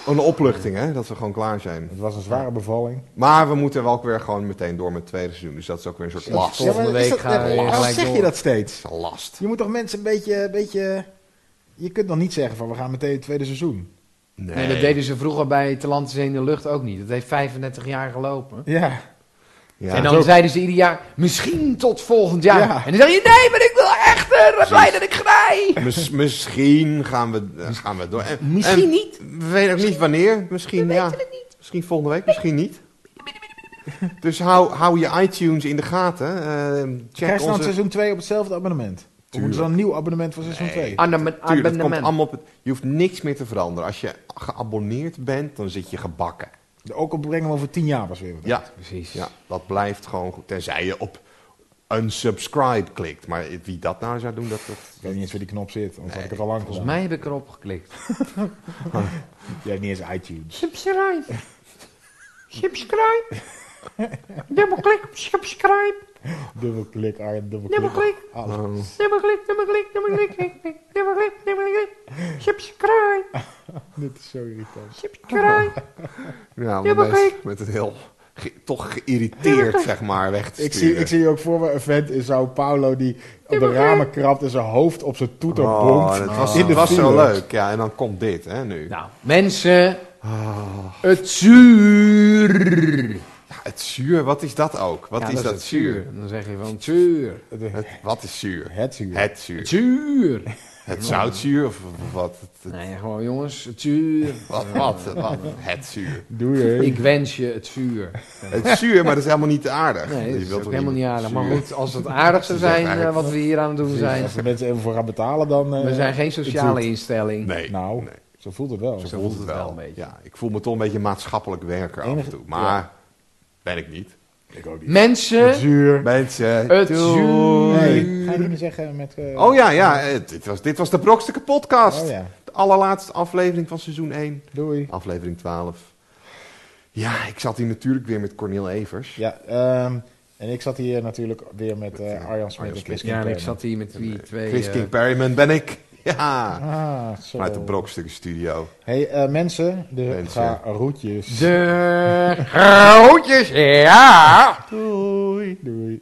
[SPEAKER 2] Een opluchting, hè, dat we gewoon klaar zijn.
[SPEAKER 3] Het was een zware bevalling.
[SPEAKER 2] Maar we moeten wel ook weer gewoon meteen door met het tweede seizoen. Dus dat is ook weer een soort last.
[SPEAKER 5] Ja, Volgende
[SPEAKER 3] maar is
[SPEAKER 5] week
[SPEAKER 3] dat-
[SPEAKER 5] gaan we weer
[SPEAKER 3] Waarom
[SPEAKER 5] gelijk
[SPEAKER 3] zeg
[SPEAKER 5] door.
[SPEAKER 3] je dat steeds?
[SPEAKER 2] Dat is een last.
[SPEAKER 3] Je moet toch mensen een beetje, een beetje. Je kunt dan niet zeggen van we gaan meteen het tweede seizoen.
[SPEAKER 2] Nee,
[SPEAKER 5] Nee, dat deden ze vroeger bij Te Land, Zee in de Lucht ook niet. Dat heeft 35 jaar gelopen.
[SPEAKER 3] Ja.
[SPEAKER 2] Ja.
[SPEAKER 5] en dan zeiden ze ieder jaar, misschien tot volgend jaar.
[SPEAKER 3] Ja.
[SPEAKER 5] En dan zeg je, nee, maar ik wil echt eh, blij dat ik grij.
[SPEAKER 2] Mis- misschien gaan we, eh, gaan we door. En-
[SPEAKER 5] Misschien
[SPEAKER 2] en
[SPEAKER 5] niet.
[SPEAKER 2] We weten ook niet wanneer. Misschien, ja. Misschien volgende week, misschien niet. Dus hou, hou je iTunes in de gaten. eh, check
[SPEAKER 3] Krijg je dan
[SPEAKER 2] onze...
[SPEAKER 3] seizoen 2 op hetzelfde abonnement? Of moeten ze dan een nieuw abonnement voor seizoen 2?
[SPEAKER 5] Arnhem-
[SPEAKER 2] Tuurlijk, het
[SPEAKER 5] Arnhem-
[SPEAKER 2] komt allemaal op het- je hoeft niks meer te veranderen. Als je geabonneerd bent, dan zit je gebakken.
[SPEAKER 3] De ook opbrengen over tien jaar pas weer. wat.
[SPEAKER 2] Ja,
[SPEAKER 5] Precies.
[SPEAKER 2] ja, dat blijft gewoon goed. Tenzij je op unsubscribe klikt. Maar wie dat nou zou doen, dat... dat
[SPEAKER 3] Ik weet niet eens waar die knop zit, anders had ik het al lang gedaan.
[SPEAKER 5] Volgens mij heb ik erop geklikt.
[SPEAKER 3] Jij hebt niet eens iTunes.
[SPEAKER 4] Subscribe. Subscribe. Dubbelklik op subscribe.
[SPEAKER 3] Dubbelklik, Arjen, dubbelklik.
[SPEAKER 4] Dubbelklik.
[SPEAKER 2] Oh.
[SPEAKER 4] Dubbelklik, dubbelklik, dubbelklik, dubbelklik, dubbelklik, dubbelklik. Subscribe.
[SPEAKER 3] Dit is zo irritant.
[SPEAKER 4] Subscribe.
[SPEAKER 2] ja, om
[SPEAKER 4] Ja,
[SPEAKER 2] de
[SPEAKER 4] maar
[SPEAKER 2] mensen
[SPEAKER 4] kijk.
[SPEAKER 2] met het heel... ge- toch geïrriteerd, zeg maar, weg te
[SPEAKER 3] Ik zie,
[SPEAKER 2] sturen.
[SPEAKER 3] ik zie ook voor me een vent in Sao Paulo die op de
[SPEAKER 4] maar
[SPEAKER 3] ramen krabt en zijn hoofd op zijn toeter
[SPEAKER 2] Oh,
[SPEAKER 3] bonkt.
[SPEAKER 2] dat was,
[SPEAKER 3] in de
[SPEAKER 2] was zo
[SPEAKER 3] file.
[SPEAKER 2] leuk. Ja, en dan komt dit, hè, nu.
[SPEAKER 5] Nou, mensen.
[SPEAKER 2] Ah.
[SPEAKER 5] Het zuur.
[SPEAKER 2] Ja, het zuur, wat is dat ook? Wat
[SPEAKER 5] Ja,
[SPEAKER 2] is dat
[SPEAKER 5] het
[SPEAKER 2] zuur?
[SPEAKER 5] En Dan zeg je van het zuur.
[SPEAKER 2] Het, wat is zuur?
[SPEAKER 3] Het zuur.
[SPEAKER 2] Het zuur.
[SPEAKER 5] Het zuur.
[SPEAKER 2] Het zoutzuur of, of wat? Het-
[SPEAKER 5] Nee, gewoon jongens, het zuur.
[SPEAKER 2] Wat, wat, wat? Het zuur.
[SPEAKER 3] Doe je. Dus
[SPEAKER 5] Ik wens je het vuur.
[SPEAKER 2] Het is zuur, maar dat is helemaal niet aardig.
[SPEAKER 5] Nee,
[SPEAKER 2] Je
[SPEAKER 5] dat is
[SPEAKER 2] wilt
[SPEAKER 5] ook
[SPEAKER 2] toch
[SPEAKER 5] helemaal niet aardig. Maar
[SPEAKER 2] zuur?
[SPEAKER 5] goed, als het aardig
[SPEAKER 2] Ze
[SPEAKER 5] zou
[SPEAKER 2] zegt
[SPEAKER 5] zijn eh,
[SPEAKER 2] eigenlijk-
[SPEAKER 5] wat we hier aan het doen zijn.
[SPEAKER 3] Als de mensen even voor gaan betalen, dan... eh,
[SPEAKER 5] We zijn geen
[SPEAKER 3] het
[SPEAKER 5] sociale
[SPEAKER 3] doet-
[SPEAKER 5] instelling.
[SPEAKER 2] Nee,
[SPEAKER 3] Nou,
[SPEAKER 2] nee.
[SPEAKER 3] zo voelt het wel.
[SPEAKER 5] Zo voelt het wel een beetje.
[SPEAKER 2] Ja, ik voel me toch een beetje maatschappelijk werker af en
[SPEAKER 3] Enige-
[SPEAKER 2] toe. Maar ben ik niet.
[SPEAKER 3] Ik ook niet. Het
[SPEAKER 5] Mensen,
[SPEAKER 3] zuur.
[SPEAKER 2] Mensen,
[SPEAKER 5] het
[SPEAKER 2] doei.
[SPEAKER 5] zuur.
[SPEAKER 3] Nee, ga je niet meer zeggen met... eh,
[SPEAKER 2] Oh ja, ja eh, dit, was, dit was de Brokstukken podcast.
[SPEAKER 3] Oh ja.
[SPEAKER 2] De allerlaatste aflevering van seizoen 1.
[SPEAKER 3] Doei.
[SPEAKER 2] Aflevering 12. Ja, ik zat hier natuurlijk weer met Cornel Evers.
[SPEAKER 3] Ja, ehm, en ik zat hier natuurlijk weer met eh, Arjan Smit en
[SPEAKER 2] Smit.
[SPEAKER 3] Chris
[SPEAKER 5] Ja, en ik
[SPEAKER 3] Kinkler.
[SPEAKER 5] zat hier met die twee.
[SPEAKER 2] Chris
[SPEAKER 5] eh,
[SPEAKER 2] King Perryman ben ik. Ja,
[SPEAKER 3] Ah, zo.
[SPEAKER 2] vanuit de Brokstukken studio.
[SPEAKER 3] Hey eh, mensen, de
[SPEAKER 2] Mensen.
[SPEAKER 3] garoetjes.
[SPEAKER 5] eh, De grootjes, ja!
[SPEAKER 3] Doei.